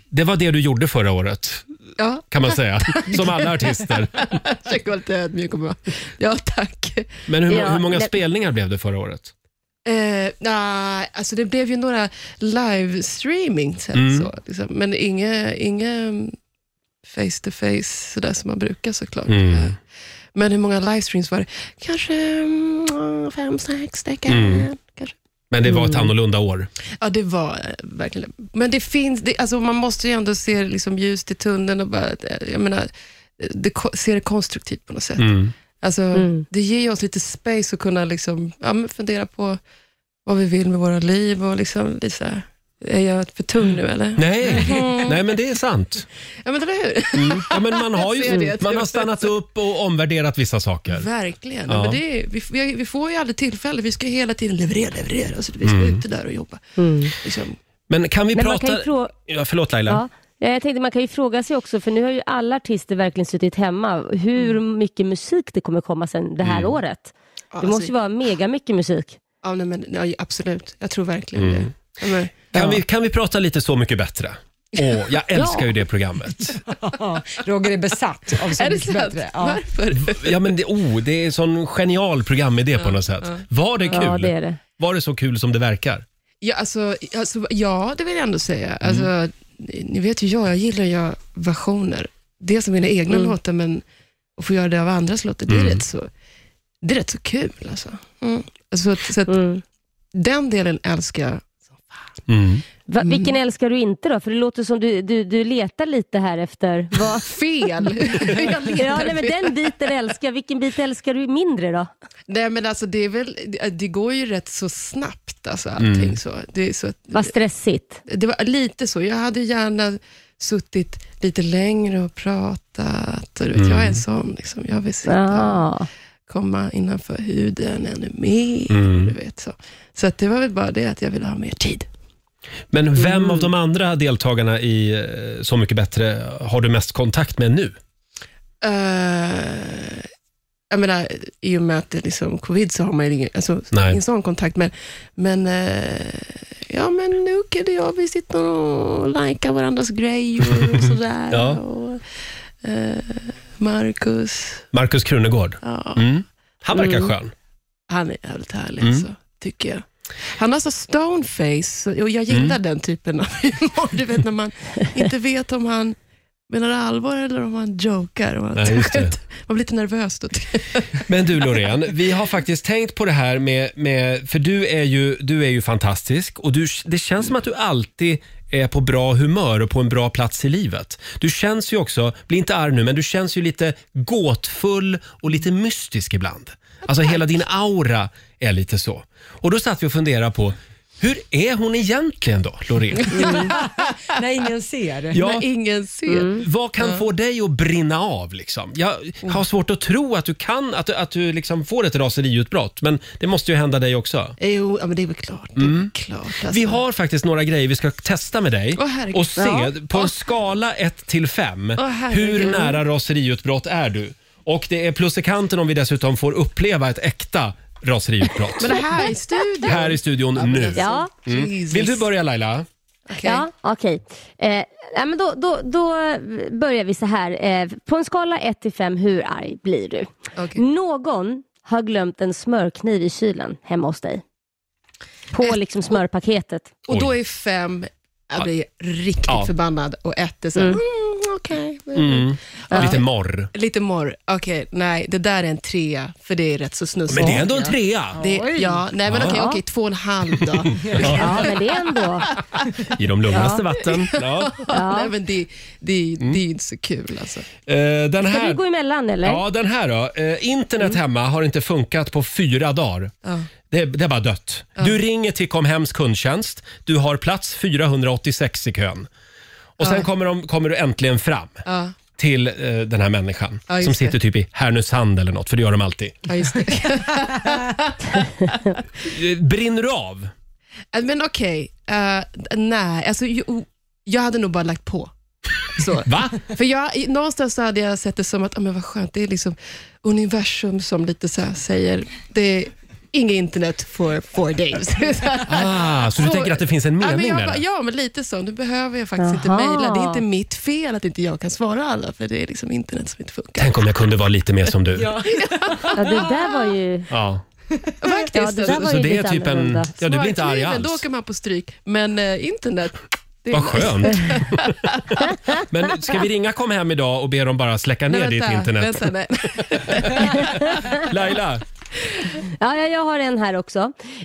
Det var det du gjorde förra året.
Mm. Ja.
kan man säga, som alla artister.
Försök vara lite ödmjuk och bra. Ja, tack.
Men hur,
Ja,
hur många
nej.
spelningar blev det förra året?
Eh, nej, alltså det blev ju några livestreaming, sen,
Mm.
så, liksom. men inga, inga face to face sådär som man brukar såklart. Eh,
Mm.
Men hur många livestreams var det? Kanske mm, fem, sex stycken.
Mm.
Kanske.
Men det var
Mm.
ett annorlunda år.
Ja, det var eh, verkligen Men det finns, det, alltså man måste ju ändå se liksom ljus i tunneln och bara, eh, jag menar, eh, det, ko- se det konstruktivt på något sätt.
Mm.
Alltså,
Mm.
Det ger ju oss lite space att kunna liksom, ja, men fundera på vad vi vill med våra liv och liksom, Lisa, är jag för tung nu eller?
Nej,
Mm.
nej men det är sant. Mm.
Ja, men eller hur?
Ja, men man, har
Jag ser
ju,
det.
man har stannat upp och omvärderat vissa saker.
Verkligen.
Ja.
Men det är, vi, vi, vi får ju aldrig tillfälle, vi ska hela tiden leverera, leverera. Alltså, vi ska
Mm.
ut där och jobba. Liksom.
Men kan vi
Men man
prata...
kan ju frå-
ja, förlåt Laila.
Ja. Ja, jag tänkte man kan ju fråga sig också, för nu har ju alla artister verkligen suttit hemma, hur mycket musik det kommer komma sen det här
Mm.
året. Det
alltså-
måste ju vara mega mycket musik.
Ja, nej, men, ja, absolut. Jag tror verkligen
Mm.
det. Ja, men,
Kan, vi, kan vi prata lite Så mycket bättre? Åh, jag älskar
Ja.
ju det programmet.
Roger är besatt av Så
Är det
mycket
sant?
bättre.
Varför?
Ja, men det, oh, det är en sån genial programidé på något sätt.
ja.
Var det kul?
Ja, det är det.
Var det så kul som det verkar?
Ja, alltså, alltså, ja, det vill jag ändå säga. Alltså, ni- Ni vet ju jag, jag gillar ju att göra versioner. Dels av mina egna
Mm.
låtar, men att få göra det av andras låtar, det är,
Mm.
rätt, så, det är rätt så kul. Alltså. Mm. Alltså, så att, så att,
Mm.
Den delen älskar jag. Mm,
Va, vilken älskar du inte då? För det låter som du, du, du letar lite här efter... Vad...
Fel! Jag letar
ja, nej, men
fel.
den biten älskar jag. Vilken bit älskar du mindre då?
Nej, men alltså, det, är väl, det- det går ju rätt så snabbt, alltså, allting.
Mm.
Så. Det, är så att,
Vad stressigt.
Det var lite så. Jag hade gärna suttit lite längre och pratat. Och du vet,
Mm.
Jag är en sån. Liksom. Jag vill sitta och komma innanför huden ännu mer.
Mm.
Du vet, så så att det var väl bara det att jag ville ha mer tid.
Men vem
Mm.
av de andra deltagarna i eh, Så mycket bättre har du mest kontakt med nu?
Eh, jag menar, i och med att det är liksom covid så har man ju ingen, alltså,
Nej.
ingen sån kontakt. Men, men eh, ja men nu kan det jag, vi sitter och likar varandras grejer och sådär.
Ja.
och, eh, Marcus,
Markus Krunegård.
Ja.
Mm. Han verkar
Mm.
skön.
han är jävligt härlig
Mm.
alltså, tycker jag. Han har så stoneface och jag gillar
Mm.
den typen av humor. Du vet när man inte vet om han menar allvar eller om han jokar. Och
Nej, just det.
Man blir lite nervös då.
Men du Loreen, vi har faktiskt tänkt på det här med, med för du är ju, du är ju fantastisk och du, det känns som att du alltid är på bra humör och på en bra plats i livet. Du känns ju också, bli inte arg nu, men du känns ju lite gåtfull och lite mystisk ibland. Alltså hela din aura är lite så. Och då satt vi och funderade på, hur är hon egentligen då, Loreen?
Mm. När ingen ser.
Ja. Mm.
När ingen ser. Mm.
Vad kan
Ja. Mm.
få dig att brinna av? Liksom? Jag har svårt att tro att du kan, att du, att du liksom får ett raseriutbrott, men det måste ju hända dig också.
Jo, ja, men det är väl klart.
Mm.
klart alltså.
Vi har faktiskt några grejer vi ska testa med dig
Åh, herregud.
och se
Ja.
på en skala 1 till 5
Åh, herregud.
hur nära raseriutbrott är du? Och det är plus i kanten om vi dessutom får uppleva ett äkta raseriutbrott.
Men det här i studion.
Här i studion
Ja, men
nu.
alltså, Ja.
Mm.
Jesus.
Vill du börja Laila?
Ja, okej. Eh, nej, men då, då, då börjar vi så här. Eh, på en skala 1 till 5, hur arg blir du? Någon har glömt en smörkniv i kylen hemma hos dig. På liksom smörpaketet.
Och då är fem, jag blir riktigt
Ja.
förbannad och ett är så
Mm.
mm. okej.
Mm.
Ja.
Lite morr.
Lite morr. Okej, nej, det där är en trea, för det är rätt så snuskigt.
Men det är ändå en trea.
Det,
Oj.
ja, nej men
Ja.
okej, okej, två och en halv då.
Ja,
men det är ändå...
I de lugnaste
Ja.
vatten. Ja. Mm.
nej, men det, det, det är inte så kul alltså.
Eh, den
Ska
här...
vi gå emellan eller?
Ja, den här då. Eh, internet
Mm.
hemma har inte funkat på fyra dagar. Det, det är bara dött. Du ringer till Comhems kundtjänst. Du har plats 486 i kön. Och sen
Ja.
kommer, de, kommer du äntligen fram
Ja,
till eh, den här människan
Ja, just
som sitter
det.
typ i Härnösand eller något, för det gör de alltid.
ja just det.
Eh, Brinner du av?
Äh, Men okej, eh, nej, alltså jo, jag hade nog bara lagt på. Så.
Va?
För jag, i- någonstans så hade jag sett det som att, ah, men vad skönt, det är liksom universum som lite så här säger, det, inget internet for four days. Så att-
Ah, så du tänker att det finns en
ja, men
mening
jag,
med
bara-
det?
Ja, men lite så. Nu behöver jag faktiskt inte
Jaha.
mejla. Det är inte mitt fel att inte jag kan svara alla, för det är liksom internet som inte funkar.
Tänk om jag kunde vara lite mer som du.
Ja, det där var ju...
Ja.
Faktiskt.
Ja, det där var
Så
ju
det är
lite
typ en...
annorlunda.
Ja, du blir inte arg
Smartkniven, Då
alls.
åker man på stryk, men eh, internet... det är
Vad
nice.
skönt. Men ska vi ringa Kom hem idag och be dem bara släcka ner
Nej,
ditt
vänta,
internet?
Vänta, nej.
Laila,
Ja, ja, jag har en här också.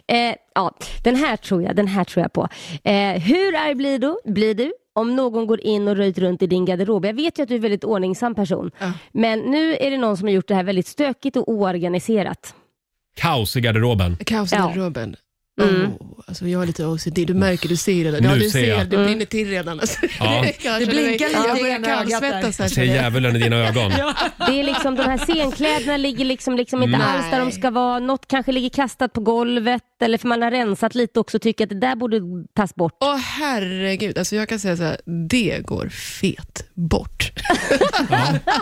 Eh, ja, den här tror jag, den här tror jag på. Eh, hur arg blir du, blir du om någon går in och röjt runt i din garderob? Jag vet ju att du är en väldigt ordningsam person. Men nu är det någon som har gjort det här väldigt stökigt och oorganiserat.
kaos i garderoben.
Kaos i
Ja.
garderoben.
Mm.
Mm.
Oh, alltså jag har lite OCD, du märker, du ser det. där. Ja,
Nu
du
ser
ser,
jag.
det brinner till redan. Alltså.
Ja.
Jag känner mig-
blinkar lite
Jag
i
börjar
ena ögat
kallsvettas här.
Ser
känner jag.
djävulen i dina ögon.
Det är liksom, de här scenkläderna ligger liksom, liksom inte
Nej.
alls där de ska vara. Något kanske ligger kastat på golvet eller för man har rensat lite också och tycker att det där borde tas bort.
Åh herregud, alltså jag kan säga så här, det går fet bort.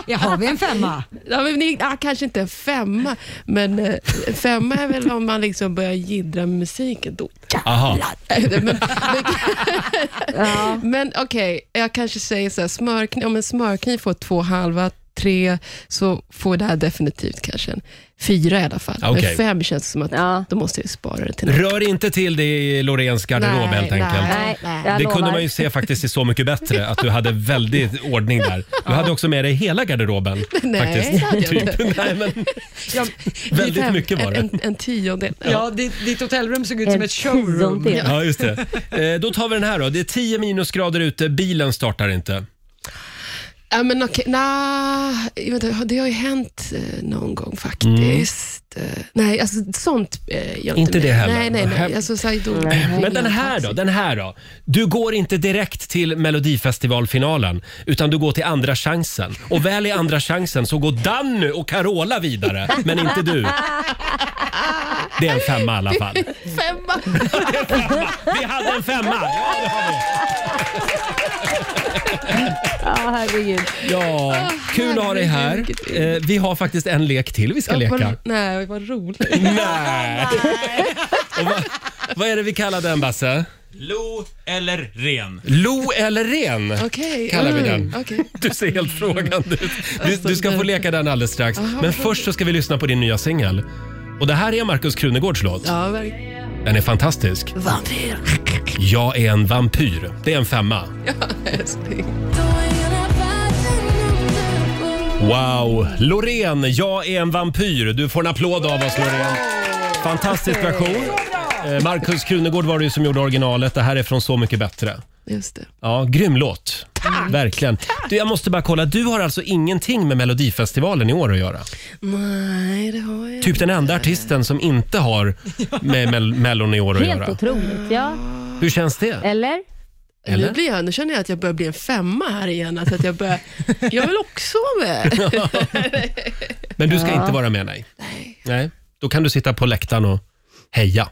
Ja, har vi en femma?
Ja, men, ni- ah, kanske inte en femma, men eh, femma är väl om man liksom börjar jiddra med musiken. Då
Aha.
jävlar. men men, men okej, jag kanske säger så här, smörkniv, om en smörkniv får två halva, tre, så får det här definitivt kanske en fyra i alla fall.
Okej.
Men fem känns som att då måste jag spara det till något.
Rör inte till det i Loreens garderob
Nej,
helt enkelt.
Nej, jag
Det
lovar.
kunde man ju se faktiskt i Så mycket bättre, att du hade väldigt ordning där. Du hade också med dig hela garderoben.
Nej,
faktiskt.
det hade jag inte.
Typ. Nej, men väldigt
Fem-
mycket var det.
En, en, en tiondel.
Ja, ditt, ditt hotellrum såg ut som
En
ett showroom.
tiondel.
Ja, just det. Eh, Då tar vi den här då. Det är 10 minusgrader ute, bilen startar inte.
Ja, men okej, nah, vänta, det har ju hänt eh, någon gång faktiskt. Eh, nej, alltså sånt eh, gör
Mm. Inte
mig.
det heller.
Nej, nej,
Här-
nej. Alltså, så här, då,
Men den här då, den här då. Du går inte direkt till Melodifestivalfinalen, utan du går till andra chansen. Och väl i andra chansen så går Danny och Carola vidare, men inte du. Det är en femma i alla fall.
Femma.
Vi hade en femma! Ja, det har vi.
Ja, herregud.
Ja, kul att ha dig här. Eh, vi har faktiskt en lek till vi ska leka.
Vad, nej, vad roligt.
Nej! Och vad, vad är det vi kallar den, Basse?
Lo eller ren?
Lo eller ren?
Okej.
Kallar vi
mm,
den.
okej. Alltså,
Du ser helt frågande ut. Du, du ska få leka den alldeles strax. Men först så ska vi lyssna på din nya singel. Och det här är Markus Krunegårds låt.
Ja, verkligen.
Den är fantastisk.
Vampyr.
Jag är en vampyr. Det är en femma.
Älskling.
Wow! Loreen, jag är en vampyr. Du får en applåd av oss Loreen. Fantastisk version. Eh, Markus Krunegård var det ju som gjorde originalet. Det här är från Så mycket bättre.
Just det.
Ja, grym låt. Verkligen. Du, jag måste bara kolla, du har alltså ingenting med Melodifestivalen i år att göra?
Nej, det har jag
Typ den enda artisten som inte har med Mel- Mellon i år att
Helt
göra.
otroligt, ja.
Hur känns det?
Eller?
Eller?
Nu, blir jag, nu känner jag att jag börjar bli en femma här igen. Alltså att jag, börjar, jag vill också vara med.
Men du ska inte vara med, nej. nej. Då kan du sitta på läktaren och heja.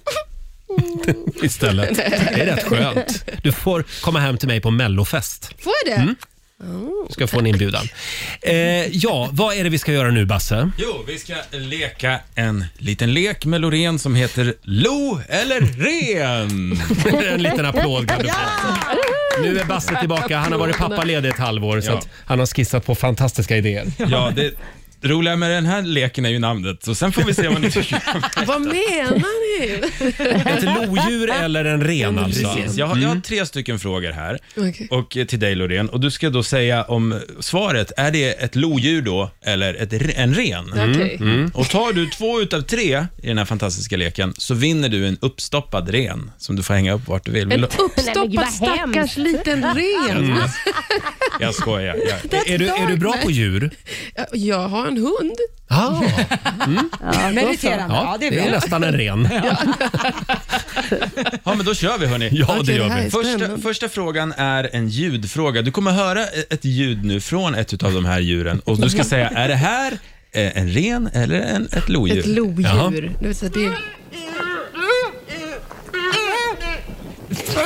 Istället. Det är rätt skönt. Du får komma hem till mig på mellofest.
Får jag
Mm.
det?
Du ska få en inbjudan. Eh, ja, vad är det vi ska göra nu, Basse?
Jo, vi ska leka en liten lek med Loreen som heter Lo eller ren.
en liten applåd kan du få. Nu är Basse tillbaka. Han har varit pappaledig ett halvår så
Ja.
att han har skissat på fantastiska idéer.
Ja, det roliga med den här leken är ju namnet, så sen får vi se vad ni tycker.
Vad menar ni?
Ett lodjur eller en ren alltså?
Precis. Jag har, jag har tre stycken frågor här
Okej.
och eh, till dig Loreen. Och du ska då säga om svaret, är det ett lodjur då eller ett, re- en ren? Mm,
Okej.
Och tar du två utav tre i den här fantastiska leken så vinner du en uppstoppad ren som du får hänga upp vart du vill.
En
vill. du-
Nej, men vad
uppstoppad
hemskt.
stackars liten ren.
Jag skojar. Jag,
Är du, är du bra på djur?
Jag har en hund.
Ah,
Meriterande.
ja, det är nästan en ren.
ja, men då kör vi hörni.
Ja, det
Okej, det
gör
här
vi.
är
Första,
spännande.
första frågan är en ljudfråga. Du kommer höra e- ett ljud nu från ett av de här djuren och du ska säga, är det här eh, en ren eller en, ett lodjur?
Ett lodjur.
Jaha.
Det vill säga, det...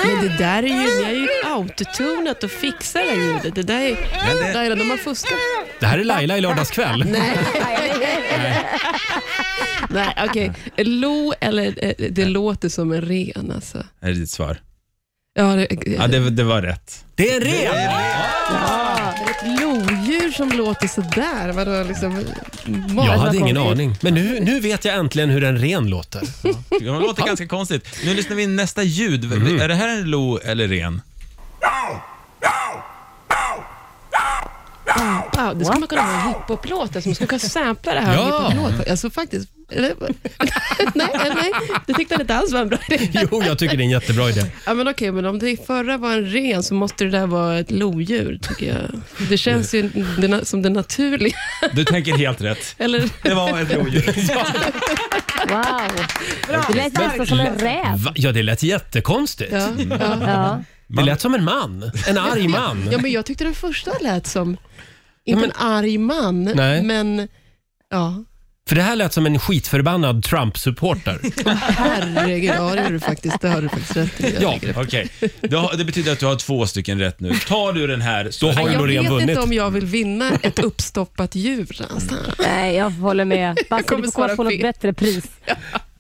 Men det där är ju, ni har ju autotunat och fixat det här ljudet. Det där är,
det-
Laila, de har fuskat.
Det här är Laila i lördagskväll.
Nej, okej. Lo eller eh, det låter som en ren alltså.
Är det ditt svar?
Ja, det, eh,
Ja, det, det var rätt.
Det är en ren!
Ja, ett lodjur som låter sådär. Vadå, liksom,
Jag hade ingen aning. Men nu, nu vet jag äntligen hur en ren låter.
Det låter ganska konstigt. Nu lyssnar vi in nästa ljud.
Mhm.
Är det här en lo eller ren?
Wow, det skulle man kunna ha en hiphop-låt. Alltså, man skulle kunna sampla det här
Ja.
ja. hiphop-låt. Alltså faktiskt. Eller, nej, eh, nej, det tyckte han inte alls var en bra idé.
Jo, jag tycker det är en jättebra idé.
Ja, men okej, men om det förra var en ren så måste det där vara ett lodjur, tycker jag. Det känns ju det na- som det naturliga.
Du tänker helt rätt.
Eller?
Det var ett lodjur.
Wow. Det lät nästan som en räv.
Va? Ja, det lät jättekonstigt.
Ja, ja. Ja.
Det lät som en man. En arg man.
Ja, men jag tyckte den första lät som, inte en arg man,
Nej.
men ja,
För det här lät som en skitförbannad Trump-supporter.
herregud, ja det har du faktiskt, det har du faktiskt rätt i.
Ja, okej. Du har- Det betyder att du har två stycken rätt nu. Tar du den här så...
Då har
Jag vet inte om jag vill vinna ett uppstoppat djur. Alltså.
Nej, jag håller med. Basse,
kommer
du får komma
svara
på något
fel.
bättre pris.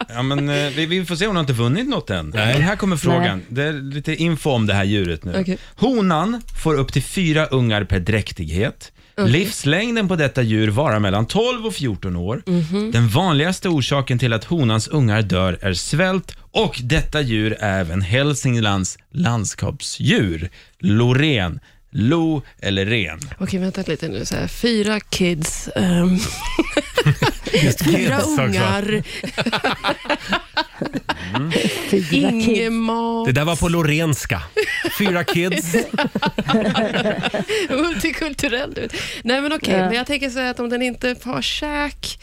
Ja, men, eh, vi, vi får se om du har inte vunnit något än. Men här kommer frågan. Det är lite info om det här djuret nu.
Okej.
Honan får upp till fyra ungar per dräktighet.
Okej.
Livslängden på detta djur varar mellan 12 och 14 år.
Mhm.
Den vanligaste orsaken till att honans ungar dör är svält och detta djur är även Hälsinglands landskapsdjur. Loreen. Lo eller ren?
Okej, vänta lite nu. Så här, fyra kids. ehm, fyra
kids också.
ungar. Ingemat.
Det där var på lorenska. Fyra kids.
Multikulturell ut. Nej men okej,
Ja.
men jag tänker så här att om den inte har käk,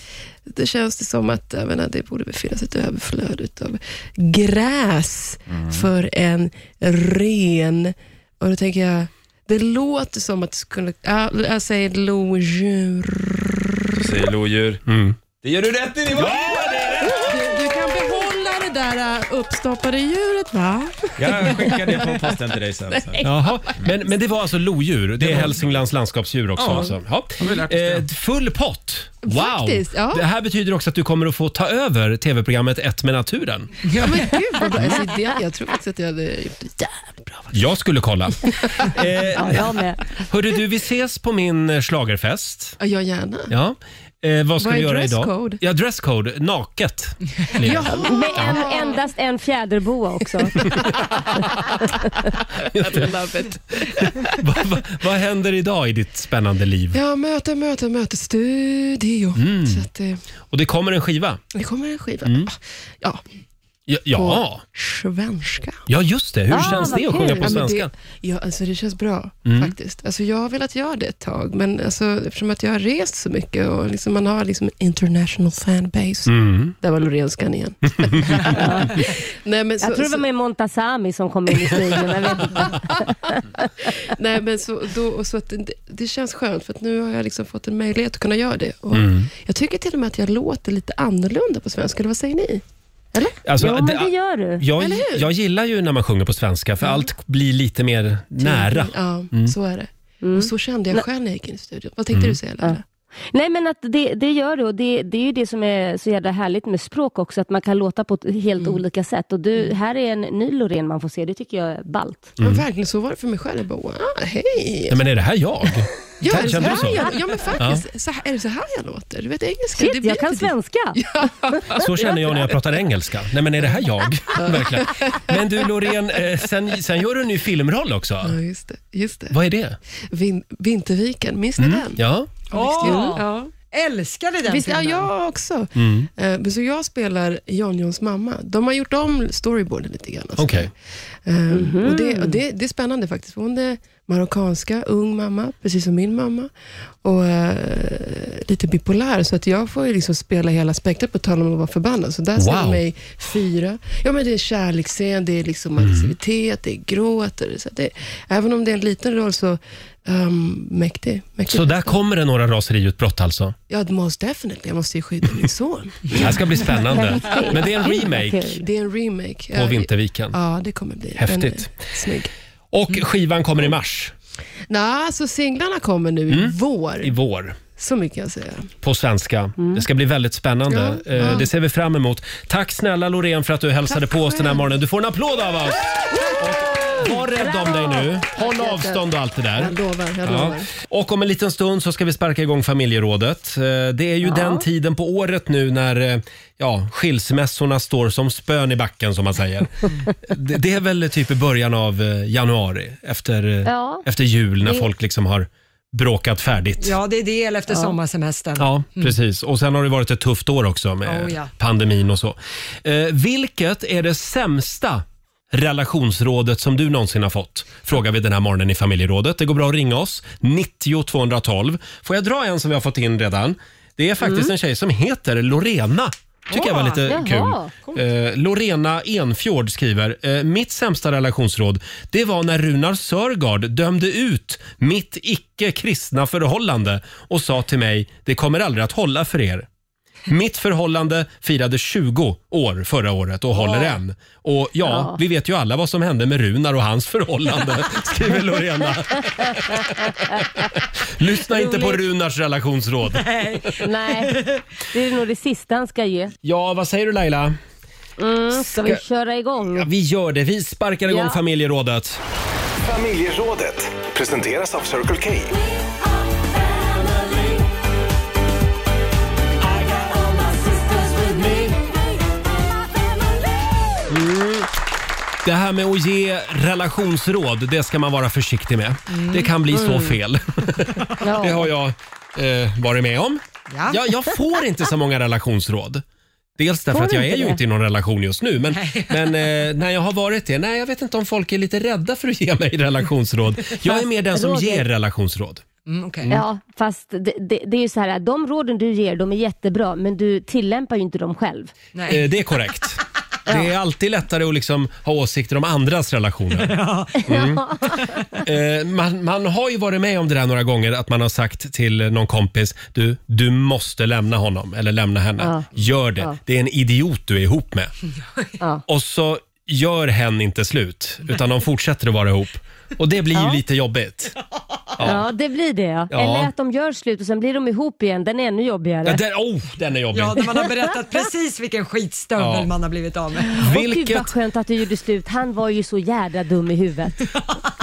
det känns det som att jag menar, det borde finnas ett överflöd av gräs för en ren. Och då tänker jag, det låter som att det skulle, ja, jag säger lodjur.
Du säger lodjur.
Mm.
Det gör du rätt i nivå!
Du, du kan behålla det där äh, uppstoppade djuret va?
Jag skickar det på posten till dig sen.
Nej.
Jaha. Men, men det var alltså lodjur. Det är Hälsinglands landskapsdjur också.
Ja.
Alltså. Ja.
Har vi lärt oss det?
Eh, full pott! Wow!
Faktiskt, ja.
Det här betyder också att du kommer att få ta över tv-programmet Ett med naturen.
Ja, men gud vad bra. Alltså, det, jag tror faktiskt att jag hade gjort det jävligt bra.
Jag skulle kolla. Eh,
jag med.
Hörru du, vi ses på min eh, schlagerfest.
Ja, jag gärna.
Ja. Eh, vad ska
Vad
vi
är
göra idag?
dresscode?
Ja, dresscode. Naket.
Med en, endast en fjäderboa också.
Love it.
vad, vad, vad händer idag i ditt spännande liv?
Ja, möte, möte, möte, studio.
Mm.
Så att det,
Och det kommer en skiva.
det kommer en skiva. Ah, Ja,
Ja,
på
ja.
svenska.
ja just det. Hur känns det att sjunga på
Ja, men
svenska?
Det, ja, alltså det känns bra
Mm.
faktiskt. Alltså jag har velat göra det ett tag, men alltså, eftersom att jag har rest så mycket och liksom man har liksom international fanbase.
Mm.
Där var Lorenskan igen. Nej, men så,
Jag tror det var
så,
med Montazami som kom in i studion. Jag vet inte.
nej, men så, då, och så att det, det känns skönt, för att nu har jag liksom fått en möjlighet att kunna göra det. Och
Mm.
Jag tycker till och med att jag låter lite annorlunda på svenska, eller vad säger ni? Eller?
Alltså,
Jo, men
det-
det gör du.
Jag,
Eller hur?
jag gillar ju när man sjunger på svenska för allt blir lite mer nära.
Ja,
Mm.
så är det. Och så kände jag själv när jag gick in i studion. Vad tänkte du säga Laila?
Nej, men att det, det gör du och det, det är ju det som är så jävla härligt med språk också, att man kan låta på ett helt olika sätt. Och du, här är en ny Loreen man får se, det tycker jag är ballt.
Mm.
Men verkligen, så var det för mig själv. Jag bara, wow, hej.
Nej, men är det här jag?
Ja, är det så
Kände du
här
så?
jag, ja men faktiskt, så här, är det så här jag låter? Du vet engelska? det
Shit,
blir
jag kan
inte det.
svenska!
Så känner jag när jag pratar engelska. Nej, men är det här jag? Verkligen. Men du Loreen, eh, sen, sen gör du en ny filmroll också.
Ja, just det. Just det.
Vad är det?
Vin, Vinterviken, minns ni den?
Mm, Ja.
Visst,
Åh.
ja.
Älskade den
Visst, ja,
filmen.
jag också.
Mm.
Eh, men Så jag spelar Jonjons mamma. De har gjort om storyboarden lite grann. Alltså.
Okej.
Eh, och
Mhm.
det, och det, det är spännande faktiskt. Hon är marockanska, ung mamma, precis som min mamma. Och eh, lite bipolär, så att jag får ju liksom spela hela spektrat på tal om att vara förbannad. Så där ser
Wow.
jag mig fyra. Ja, men det är kärleksscen, det är liksom
Mm.
aggressivitet, det är gråt. och det- Så att det, även om det är en liten roll så um, mäktig, mäktig.
Så där kommer det några raseriutbrott alltså.
Ja, most definitely. Jag måste ju skydda min son.
Det här ska bli spännande. Men det är en remake
Det är en remake.
på
Ja,
Vinterviken.
Ja, det kommer bli. Den
Häftigt.
är snygg. Mm.
Och skivan kommer i mars
Nej, så singlarna kommer nu i vår.
Mm. i vår.
Så mycket kan jag säga.
på svenska. Det ska bli väldigt spännande.
Mm. Ja,
Eh,
ja.
Det ser vi fram emot. Tack snälla Loreen för att du hälsade på oss den här morgonen. Du får en applåd av oss! Och var rädd om dig nu. Håll
Tack,
avstånd och allt det där.
Jag lovar, jag lovar.
Och om en liten stund så ska vi sparka igång familjerådet. Eh, Det är ju den tiden på året nu när eh, ja, skilsmässorna står som spön i backen som man säger. det, det är väl typ i början av eh, januari efter, eh,
Ja.
efter jul när
Det-
folk liksom har bråkat färdigt.
Ja, det är del efter
Ja.
sommarsemestern.
Ja,
Mm.
precis. Och sen har det varit ett tufft år också med
Oh, ja.
pandemin och så. Eh, vilket är det sämsta relationsrådet som du någonsin har fått? Frågar vi den här morgonen i familjerådet. Det går bra att ringa oss. 90 212. Får jag dra en som vi har fått in redan? Det är faktiskt
Mm.
en tjej som heter Lorena. Tycker jag var
Åh,
lite
jaha,
kul. Eh, Lorena Enfjord skriver, eh, mitt sämsta relationsråd det var när Runar Sörgard dömde ut mitt icke-kristna förhållande och sa till mig, det kommer aldrig att hålla för er. Mitt förhållande firade 20 år förra året och håller
Åh.
än. Och ja,
Ja.
vi vet ju alla vad som hände med Runar och hans förhållande, skriver Lorena. Lyssna inte på
Roligt.
Runars relationsråd.
Nej, det är nog det sista han ska ge.
Ja, vad säger du Laila?
Mm, ska vi
Ska-
köra igång?
Ja, vi gör det. Vi sparkar igång
Ja.
familjerådet.
Familjerådet presenteras av Circle K.
Mm. Det här med att ge relationsråd, det ska man vara försiktig med. Det kan bli så
Mm.
fel. Det har jag eh, varit med om.
Ja.
Jag, jag får inte så många relationsråd. Dels därför
Får
att
du
jag
inte
är ju
det?
inte i någon relation just nu, men, men eh, när jag har varit det, nej jag vet inte om folk är lite rädda för att ge mig relationsråd. Jag är mer den som
Roger.
ger relationsråd.
Mm, okej.
Ja, fast det, det, det är ju så här, de råden du ger de är jättebra men du tillämpar ju inte dem själv.
Eh, det är korrekt. Det är alltid lättare att liksom ha åsikter om andras relationer. Mm. Eh, man, man har ju varit med om det där några gånger, att man har sagt till någon kompis, du, du måste lämna honom eller lämna henne.
Ja.
Gör det.
Ja.
Det är en idiot du är ihop med.
Ja.
Och så gör hen inte slut, utan de fortsätter att vara ihop. Och det blir ju lite jobbigt.
Ja. det blir det ja.
Ja.
Eller att de gör slut och sen blir de ihop igen, den är ännu jobbigare.
Ja, den, oh, den är jobbig.
Ja, när man har berättat precis vilken skitstövel
Ja.
man har blivit av med.
Åh, Gud vad skönt att du gjorde slut, han var ju så jädra dum i huvudet.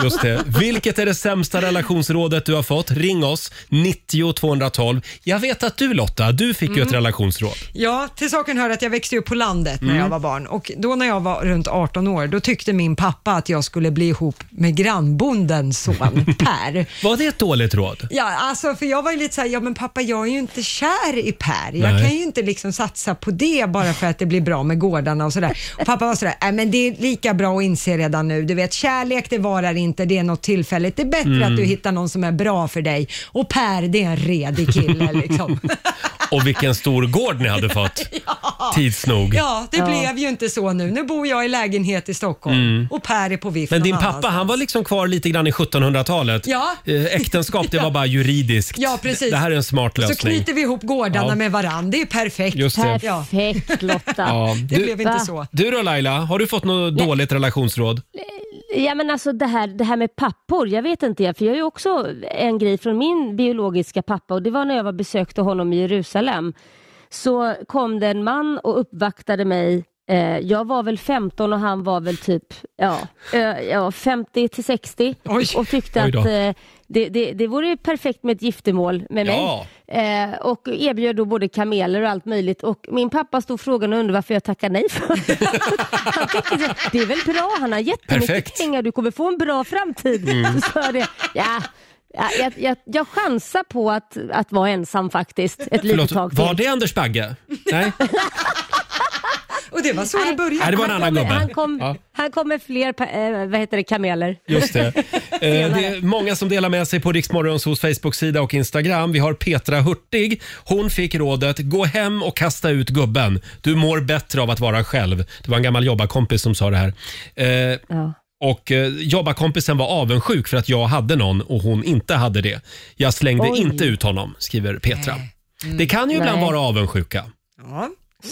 Just det. Vilket är det sämsta relationsrådet du har fått? Ring oss, 90 212. Jag vet att du Lotta, du fick ju
Mm.
ett relationsråd.
Ja, till saken hör att jag växte upp på landet när
Mm.
jag var barn och då när jag var runt 18 år, då tyckte min pappa att jag skulle bli ihop med grannbondens son Per.
Var det ett dåligt råd?
Ja, alltså för jag var ju lite såhär, ja men pappa jag är ju inte kär i Per. Jag
Nej.
kan ju inte liksom satsa på det bara för att det blir bra med gårdarna och sådär. Och pappa var sådär, nej men det är lika bra att inse redan nu. Du vet, kärlek det varar inte, det är något tillfälligt. Det är bättre
Mm.
att du hittar någon som är bra för dig. Och Per, det är en redig kille liksom.
Och vilken stor gård ni hade fått. Tids nog.
Ja, det
Ja.
blev ju inte så nu. Nu bor jag i lägenhet i Stockholm
Mm.
och Per är på vift
Men din
någon
pappa
annanstans.
han var liksom kvar lite grann i 1700-talet.
Ja.
Eh, Äktenskap det var bara juridiskt.
Ja, precis.
Det här är en smart lösning.
Så knyter vi ihop gårdarna
Ja.
med varandra. Det är perfekt.
Just det.
Perfekt Lotta.
Ja.
Det
Du-
blev inte så.
Du då Laila, har du fått något dåligt relationsråd?
Ja men alltså det här, det här med pappor, jag vet inte, för jag har ju också en grej från min biologiska pappa och det var när jag var besökte honom i Jerusalem. Så kom det en man och uppvaktade mig. Eh, Jag var väl 15 och han var väl typ ja, eh, ja, 50 till 60 och tyckte
Oj
att
då.
eh, det, det, det vore ju perfekt med ett giftermål med
Ja.
mig. Eh, Och erbjöd då både kameler och allt möjligt och min pappa stod frågan och undrade varför jag tackade nej för han tyckte så här, det är väl bra, han har jättemycket
Perfekt.
pengar, du kommer få en bra framtid.
Mm.
Så sa jag det, ja, ja, jag, jag, jag chansar på att, att vara ensam faktiskt ett litet
Förlåt,
tag till.
var det Anders Bagge? Nej?
Och det var så det började.
Nej, det var en
han
annan
kommer,
gubbe.
Han kom,
Ja.
han kommer fler, pa- eh, vad heter det, kameler.
Just det. Eh, det är många som delar med sig på Riksmorgons Facebook-sida och Instagram. Vi har Petra Hurtig. Hon fick rådet gå hem och kasta ut gubben. Du mår bättre av att vara själv. Det var en gammal jobbarkompis som sa det här. Eh, Och eh, jobbarkompisen var avundsjuk för att jag hade någon och hon inte hade det. Jag slängde
Oj. Mm.
inte ut honom, skriver Petra. Det kan ju ibland
Nej.
vara avundsjuka.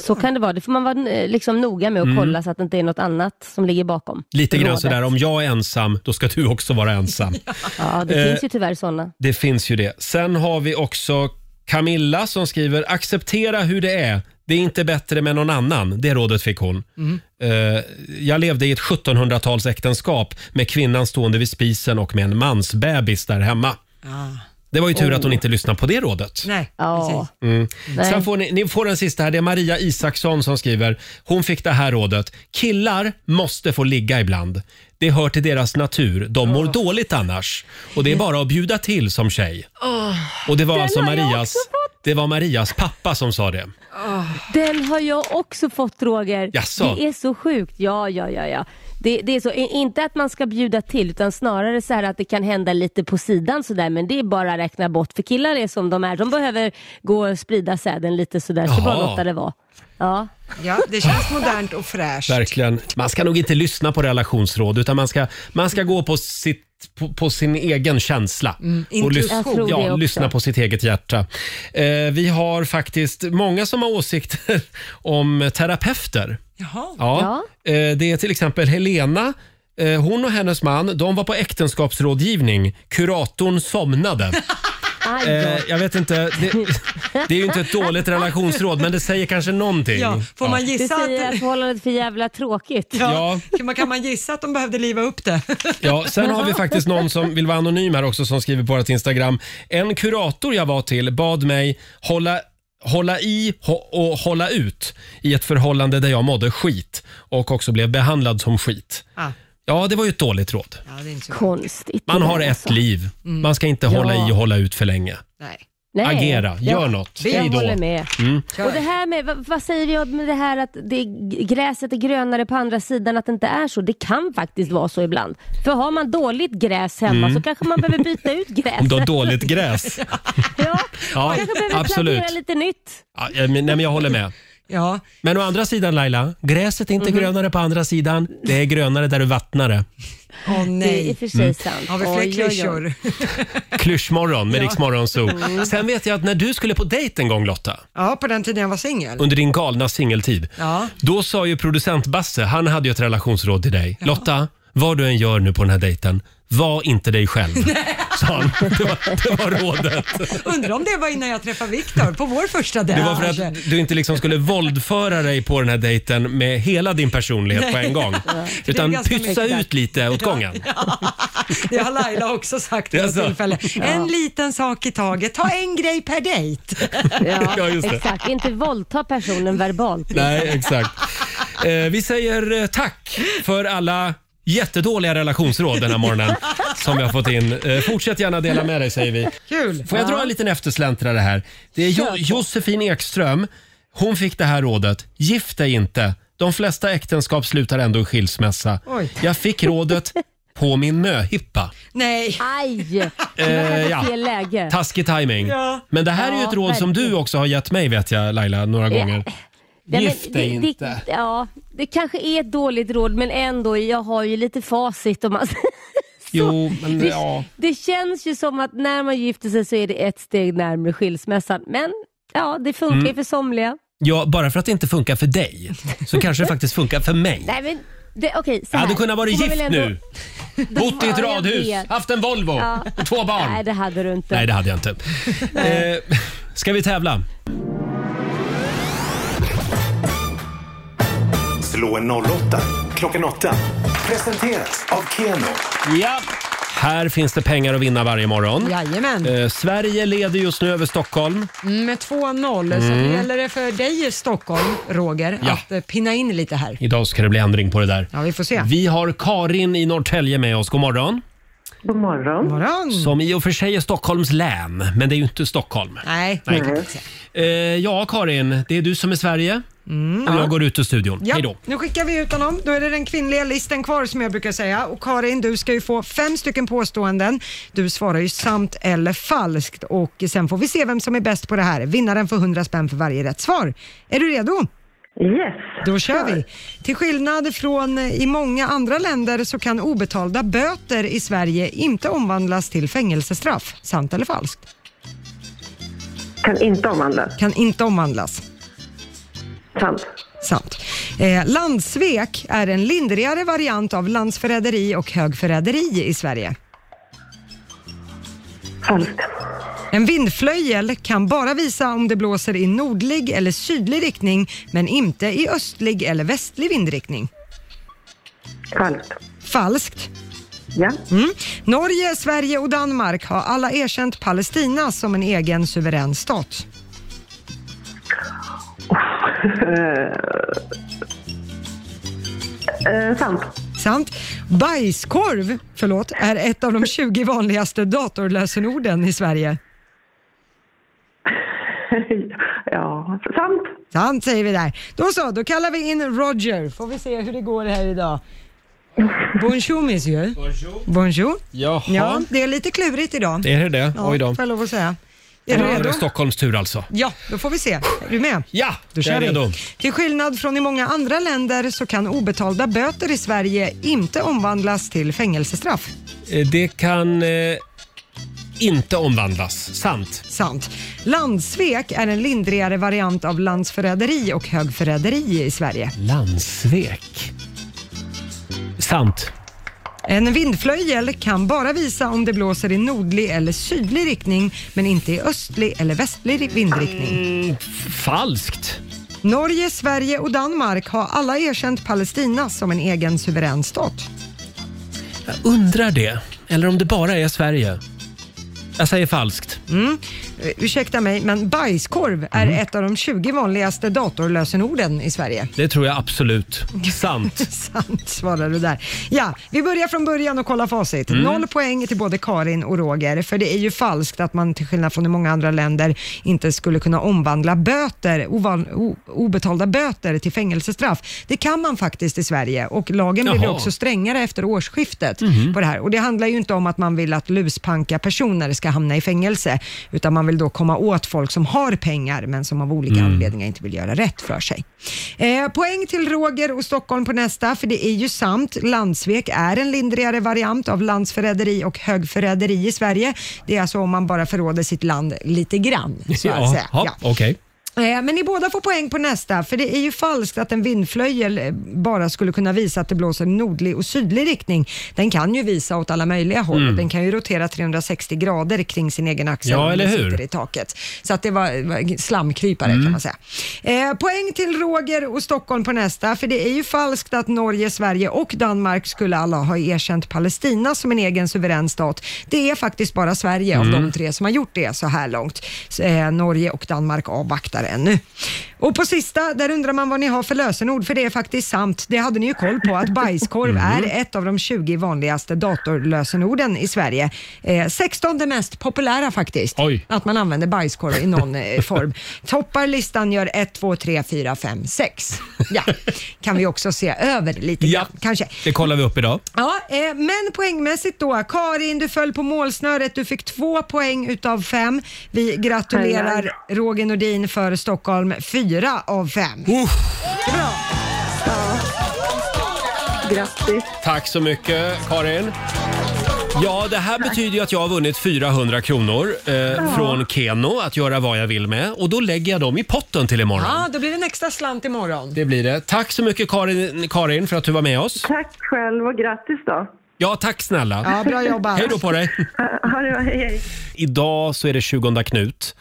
Så kan det vara, det får man vara eh, liksom noga med att
Mm.
kolla så att det inte är något annat som ligger bakom.
Lite grann
rådet.
sådär, om jag är ensam, då ska du också vara ensam.
Ja, det
Eh,
finns ju tyvärr sådana.
Det finns ju det. Sen har vi också Camilla som skriver “Acceptera hur det är. Det är inte bättre med någon annan.” Det rådet fick hon.
Mm.
Eh, jag levde i ett 1700-talsäktenskap med kvinnan stående vid spisen och med en mansbebis där hemma. Det var ju tur att hon inte lyssnade på det rådet.
Nej, precis.
Mm.
Nej.
Sen får ni, ni får den sista här. Det är Maria Isaksson som skriver. Hon fick det här rådet. Killar måste få ligga ibland. Det hör till deras natur. De mår dåligt annars. Och det är bara att bjuda till som tjej. Och det var
Den
alltså
har jag
Marias, det var Marias pappa som sa det.
Den har jag också fått Roger.
Jaså?
Det är så sjukt. Ja, ja, ja, ja. Det, det är så, i- inte att man ska bjuda till utan snarare så här att det kan hända lite på sidan sådär men det är bara att räkna bort för killar är som de är. De behöver gå och sprida säden lite sådär så
Jaha.
bara låta det vara. Ja.
ja, det känns modernt och fräscht.
Verkligen. Man ska nog inte lyssna på relationsråd utan man ska, man ska gå på, sitt, på, på sin egen känsla.
Mm, intuition. Jag tror det
ja,
också.
lyssna på sitt eget hjärta. Eh, vi har faktiskt många som har åsikter om terapeuter.
Jaha.
Ja. Eh, Det är till exempel Helena. Eh, Hon och hennes man de var på äktenskapsrådgivning. Kuratorn somnade.
Aj då.
Eh, jag vet inte, det, det är ju inte ett dåligt relationsråd men det säger kanske någonting.
du säger att, förhållandet är för jävla tråkigt.
Ja.
Kan man, kan man gissa att de behövde liva upp det?
Ja, sen har vi faktiskt någon som vill vara anonym här också som skriver på vårt Instagram. En kurator jag var till bad mig hålla hålla i hå- och hålla ut i ett förhållande där jag mådde skit och också blev behandlad som skit.
Ah.
Ja, det var ju ett dåligt råd.
Konstigt.
Man
det där,
har ett
alltså.
liv.
Mm.
Man ska inte
Ja.
hålla i och hålla ut för länge.
Nej.
Agera, gör något.
Jag
Hej då.
håller med.
Mm.
Och det här med, vad, vad säger vi om det här att det, gräset är grönare på andra sidan, att det inte är så? Det kan faktiskt vara så ibland. För har man dåligt gräs hemma
Mm.
så kanske man behöver byta ut gräset.
Om du har dåligt gräs.
ja,
Ja,
man kanske behöver
absolut.
plantera lite nytt.
Ja, jag- men- nej, men jag håller med.
Ja.
Men å andra sidan Laila, gräset är inte
Mhm.
grönare på andra sidan. Det är grönare där du vattnar det.
Åh nej.
Det är i och för sig
Mm.
sant.
Har vi fler
Oj, oj, oj.
klyschor?
Klyschmorgon med
Ja.
Rix Morgon Zoo.
Mm.
Sen vet jag att när du skulle på dejt en gång Lotta,
Ja, på den tiden jag var singel.
under din galna singeltid,
Ja.
då sa ju producent Basse, han hade ju ett relationsråd till dig. Lotta, vad du än gör nu på den här dejten, var inte dig själv. Sa han. Det var, det var rådet.
Undrar om det var innan jag träffade Viktor på vår första dejt.
Det var för
kanske.
att du inte liksom skulle våldföra dig på den här dejten med hela din personlighet på
Nej.
en gång.
Ja. Det är
Utan
ganska
pytsa
mycket.
ut lite åt gången.
Det har Laila också sagt vid
Det är
något
så.
tillfälle.
Ja.
En liten sak i taget, ta en grej per dejt.
Ja,
Ja, just det.
exakt. Inte våldta personen verbalt.
Nej, exakt. Eh, vi säger eh, tack för alla jättedåliga relationsråd den här morgonen som vi har fått in. Eh, fortsätt gärna dela med dig säger vi.
Kul.
Får jag dra en liten eftersläntrare här? Det är jo Josefin Ekström. Hon fick det här rådet. Gift dig inte. De flesta äktenskap slutar ändå i skilsmässa.
Oj.
Jag fick rådet på min möhippa.
Nej.
Aj!
Eh, ja.
fel läge.
Taskig timing.
Ja.
Men det här är ju
Ja,
ett råd som du också har gett mig vet jag Laila, några
Ja.
gånger.
Nej, men
Gift dig
det,
inte.
Det, ja, det kanske är ett dåligt råd men ändå, jag har ju lite facit om man
Jo, men
det,
ja.
det känns ju som att när man gifter sig så är det ett steg närmare skilsmässan. Men ja, det funkar ju
Mm.
för somliga.
Ja, bara för att det inte funkar för dig så kanske det faktiskt funkar för mig.
Nej men, det, okej så
Jag
här.
hade kunnat vara
Får man
gift
väl ändå-
nu. Bott i ett
Ja, jag
radhus,
vet.
haft en Volvo
Ja.
och två barn.
Nej, det hade du inte.
Nej, det hade jag inte. eh, ska vi tävla?
Slå en 08 klockan 8. Presenteras av Keno.
Ja. Här finns det pengar att vinna varje morgon.
Jajamän.
Eh, Sverige leder just nu över Stockholm.
Mm, Med 2-0, så
Mm.
det gäller det för dig i Stockholm, Roger,
Ja.
att eh, pinna in lite här.
Idag ska det bli ändring på det där.
Ja, vi får se.
Vi har Karin i Norrtälje med oss. God morgon.
God morgon. morgon.
Som i och för sig är Stockholms län, men det är ju inte Stockholm.
Nej,
Nej.
det kan jag inte säga.
Eh, ja, Karin, det är du som är Sverige.
Mm.
och
ja.
jag går ut ur studion. Hej
Ja,
då.
nu skickar vi ut honom. Då är det den kvinnliga listen kvar som jag brukar säga. Och Karin, du ska ju få fem stycken påståenden. Du svarar ju sant eller falskt och sen får vi se vem som är bäst på det här. Vinnaren får 100 spänn för varje rätt svar. Är du redo? Yes. Då kör vi. Till skillnad från eh, i många andra länder så kan obetalda böter i Sverige inte omvandlas till fängelsestraff. Sant eller falskt? Kan inte omvandlas. Kan inte omvandlas. Sant. Sant. Eh, landsvek är en lindrigare variant av landsförräderi och högförräderi i Sverige. Falskt. En vindflöjel kan bara visa om det blåser i nordlig eller sydlig riktning men inte i östlig eller västlig vindriktning. Falskt. Falskt? Ja. Mm. Norge, Sverige och Danmark har alla erkänt Palestina som en egen suverän stat.
Eh,
sant. Sant. Bajskorv, förlåt, är ett av de 20 vanligaste datorlösenorden i Sverige. Ja, sant. Sant säger vi där. Då så, då kallar vi in Roger. Får vi se hur det går här idag. Bonjour monsieur. Bonjour. Bonjour.
Jaha.
Ja, det är lite klurigt idag.
Är det det?
Ja,
Oj då.
får jag lov att säga.
Då
Är du
är
redo?
det Stockholms tur alltså.
Ja, då får vi se. Är du med?
Ja,
då
jag
kör
är redo.
vi. Till skillnad från i många andra länder så kan obetalda böter i Sverige inte omvandlas till fängelsestraff.
Eh, Det kan eh, inte omvandlas. Sant.
Sant. Landsvek är en lindrigare variant av landsförräderi och högförräderi i Sverige.
Landsvek. Sant.
En vindflöjel kan bara visa om det blåser i nordlig eller sydlig riktning men inte i östlig eller västlig vindriktning.
Mm, falskt.
Norge, Sverige och Danmark har alla erkänt Palestina som en egen suverän stat.
Undrar det. Eller om det bara är Sverige. Jag säger falskt.
Mm. Eh, Ursäkta mig, men bajskorv är ett av de 20 vanligaste datorlösenorden i Sverige.
Det tror jag absolut. Sant.
Sant svarar du där. Ja, vi börjar från början och kollar facit.
Mm.
Noll poäng till både Karin och Roger, för det är ju falskt att man till skillnad från i många andra länder inte skulle kunna omvandla böter, ovan, o, obetalda böter till fängelsestraff. Det kan man faktiskt i Sverige och lagen blir
Jaha.
också strängare efter årsskiftet på det här. Och det handlar ju inte om att man vill att luspanka personer ska hamna i fängelse, utan man vill då komma åt folk som har pengar men som av olika
Mm.
anledningar inte vill göra rätt för sig. Eh, poäng till Roger och Stockholm på nästa, för det är ju sant. Landsvek är en lindrigare variant av landsförräderi och högförräderi i Sverige. Det är alltså om man bara förråder sitt land lite grann, så att säga. Ja.
ja. Okej.
Eh, Men ni båda får poäng på nästa, för det är ju falskt att en vindflöjel eh, bara skulle kunna visa att det blåser i nordlig och sydlig riktning. Den kan ju visa åt alla möjliga håll.
Mm.
Den kan ju rotera 360 grader kring sin egen axel
Ja,
om
eller
den
hur?
sitter i taket. Så att det var, var slamkrypare
Mm.
kan man säga. Eh, poäng till Roger och Stockholm på nästa, för det är ju falskt att Norge, Sverige och Danmark skulle alla ha erkänt Palestina som en egen suverän stat. Det är faktiskt bara Sverige av
Mm.
de tre som har gjort det så här långt. Så, eh, Norge och Danmark avvaktar ännu. Och på sista, där undrar man vad ni har för lösenord, för det är faktiskt sant. Det hade ni ju koll på, att bajskorv
Mm.
är ett av de 20 vanligaste datorlösenorden i Sverige. Eh, 16 det mest populära faktiskt, att man använder bajskorv i någon eh, form. Toppar listan gör 1, 2, 3, 4, 5, 6. Ja, kan vi också se över lite grann, kanske.
Det kollar vi upp idag.
Ja, eh, men poängmässigt då. Karin, du föll på målsnöret. Du fick två poäng utav fem. Vi gratulerar Roger Nordin för Stockholm, fyra av fem. Bra.
Grattis. Tack så mycket, Karin. Ja, det här betyder ju att jag har vunnit 400 kronor eh, från Keno att göra vad jag vill med och då lägger jag dem i potten till imorgon.
Ja, då blir det en extra slant imorgon.
Det blir det. Tack så mycket Karin, Karin för att du var med oss.
Tack själv och grattis då.
Ja, tack snälla.
Ja, bra jobbat.
Hej då på dig.
Ha det bra, hej hej. Mm.
Idag så är det 20 Knut.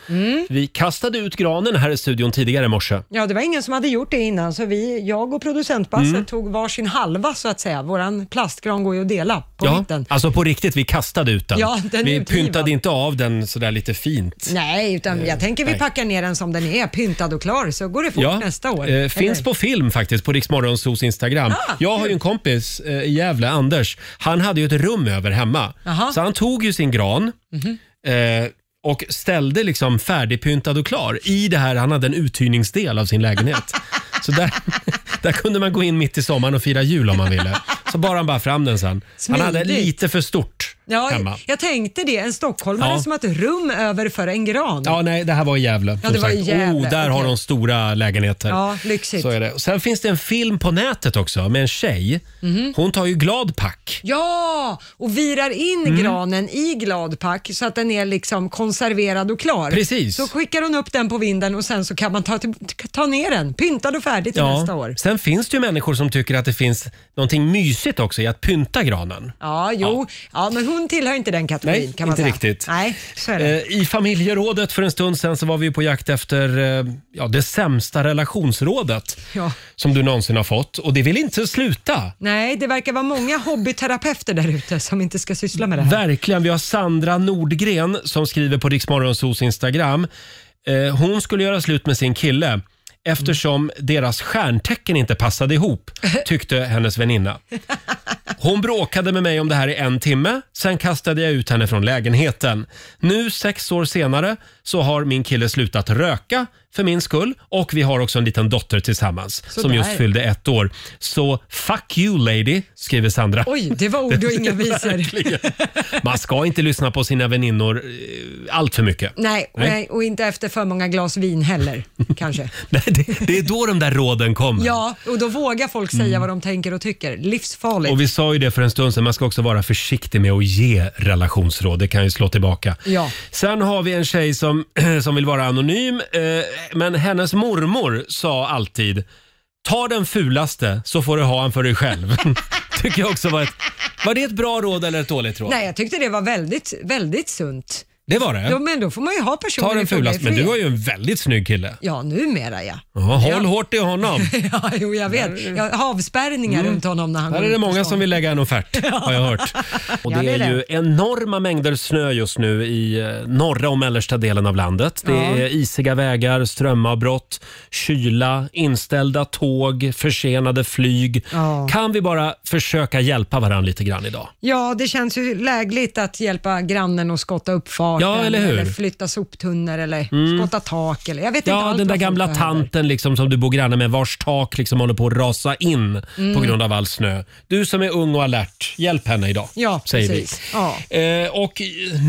Vi kastade ut granen här i studion tidigare i morse.
Ja, det var ingen som hade gjort det innan, så vi, jag och producent Basse
Mm.
tog varsin halva så att säga. Våran plastgran går ju att dela på
ja,
mitten.
alltså på riktigt, vi kastade ut den.
Ja, den är
vi
utgiven.
pyntade inte av den sådär lite fint.
Nej, utan jag tänker vi
nej.
packar ner den som den är, pyntad och klar, så går det fort nästa år.
eh, finns
Eller? Ah,
på film faktiskt på Riksmorgonsos Instagram. jag har ju en kompis eh, i Gävle, Anders. Han hade ju ett rum över hemma.
Jaha. Mhm.
Så han tog ju sin gran eh, och ställde liksom färdigpyntad och klar i det här. Han hade en uthyrningsdel av sin lägenhet. så där, där kunde man gå in mitt i sommaren och fira jul om man ville. Så bar han bara fram den sen. Han hade
Smidigt.
lite för stort
Ja,
hemma.
jag tänkte det. En stockholmare
Ja.
som har ett rum över för en gran.
Ja, nej, det här var i Gävle.
Ja, det
som
var i
sagt.
Gävle,
Oh, där har
okej.
de stora lägenheter.
Ja, lyxigt.
Så är det. Och Sen finns det en film på nätet också med en tjej. Mhm. Hon tar ju glad pack.
Ja, och virar in
Mm.
granen i gladpack så att den är liksom konserverad och klar.
Precis.
Så skickar hon upp den på vinden och sen så kan man ta, till, ta ner den, pyntad och färdig till nästa år.
Sen finns det ju människor som tycker att det finns någonting mysigt också i att pynta granen.
Ja, jo. Ja. men hon hon tillhör inte den kategorin
Nej,
kan man
inte
säga.
riktigt.
Nej, så är det.
Eh, I familjerådet för en stund sedan så var vi på jakt efter eh, ja, det sämsta relationsrådet
Ja.
som du någonsin har fått. Och det vill inte sluta.
Nej, det verkar vara många hobbyterapeuter där ute som inte ska syssla med det här.
Verkligen. Vi har Sandra Nordgren som skriver på Riksmorgonsos Instagram. Eh, hon skulle göra slut med sin kille eftersom deras stjärntecken inte passade ihop, tyckte hennes väninna. Hon bråkade med mig om det här i en timme, sen kastade jag ut henne från lägenheten. Nu, sex år senare, så har min kille slutat röka för min skull och vi har också en liten dotter tillsammans som
Sådär.
just fyllde ett år. Så fuck you lady, skriver Sandra.
Oj, det var ord och inga visor.
Verkligen. Man ska inte lyssna på sina väninnor eh, allt för mycket.
Nej,
Nej.
nej, och inte efter för många glas vin heller kanske.
Nej, det, det är då de där råden kommer.
Ja, och då vågar folk säga vad de tänker och tycker. Livsfarligt.
Mm. Och Vi sa ju det för en stund sedan, man ska också vara försiktig med att ge relationsråd. Det kan ju slå tillbaka.
Ja.
Sen har vi en tjej som, som vill vara anonym, eh, men hennes mormor sa alltid Ta den fulaste så får du ha han för dig själv. Tycker jag också var ett... Var det ett bra råd eller ett dåligt råd?
Nej, jag tyckte det var väldigt, väldigt sunt.
Det var det.
Ja, men då får man ju ha personer
Ta
i
den
fråga i
fulaste. Men du
fred.
har ju en väldigt snygg kille.
Ja, numera ja.
Ja, håll hårt i honom.
ja jo, jag vet. Jag har avspärrningar runt honom när han
Här Mm.
går
är det
ut på
många
stan.
som vill lägga en offert, har jag hört. Och det
Ja, det är
är ju
det.
enorma mängder snö just nu i eh, norra och mellersta delen av landet. Det
Ja.
är isiga vägar, strömavbrott, kyla, inställda tåg, försenade flyg.
Ja.
Kan vi bara försöka hjälpa varandra lite grann idag?
Ja, det känns ju lägligt att hjälpa grannen att skotta uppfarten
Ja, eller hur?
flytta soptunnor eller
Mm.
skotta tak. Eller, jag vet inte
Ja,
allt
den där
vad folk
gamla
behöver.
tanten liksom som du bor granne med vars tak liksom håller på att rasa in på
Mm.
grund av all snö. Du som är ung och alert, hjälp henne idag.
Ja,
säger vi.
precis. Ja.
Eh, och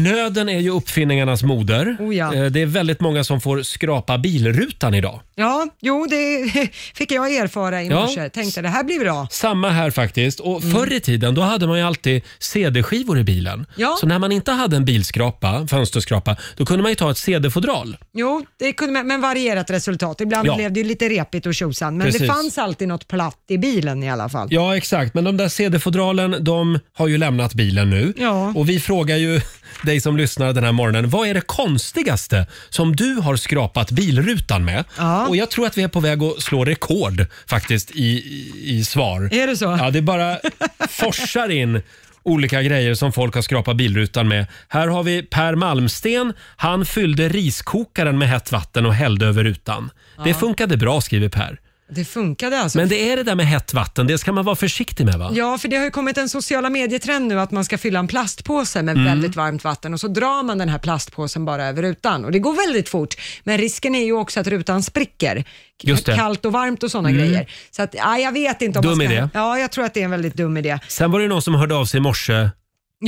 nöden är ju uppfinningarnas moder.
Oh ja.
eh, det är väldigt många som får skrapa bilrutan idag.
ja, jo, det fick jag erfara i
Ja.
morse. Tänkte det här blir bra.
Samma här faktiskt. Och
Mm.
Förr i tiden då hade man ju alltid CD-skivor i bilen.
Ja.
Så när man inte hade en bilskrapa, fönsterskrapa, då kunde man ju ta ett CD-fodral.
Jo, det kunde, man- men varierat resultat. Ibland
Ja.
blev det ju lite repigt och tjosan, men det
Precis.
fanns alltid något platt i bilen i alla fall.
Ja, exakt. Men de där CD-fodralen, de har ju lämnat bilen nu.
Ja.
Och vi frågar ju dig som lyssnar den här morgonen, vad är det konstigaste som du har skrapat bilrutan med? Och jag tror att vi är på väg att slå rekord faktiskt i, i, i svar.
Är det så?
Ja, det bara forsar in olika grejer som folk har skrapat bilrutan med. Här har vi Per Malmsten. Han fyllde riskokaren med hett vatten och hällde över rutan. Det
Ja.
funkade bra, skriver Per.
Det funkade alltså.
Men det är det där med hett vatten, det ska man vara försiktig med va?
Ja, för det har ju kommit en sociala medietrend nu att man ska fylla en plastpåse med
Mm.
väldigt varmt vatten och så drar man den här plastpåsen bara över rutan och det går väldigt fort. Men risken är ju också att rutan spricker.
Just det.
Kallt och varmt och sådana
Mm.
grejer. Så att, ja, jag vet inte om
Dum
man ska...
idé.
Ja, jag tror att det är en väldigt dum idé.
Sen var det någon som hörde av sig i morse med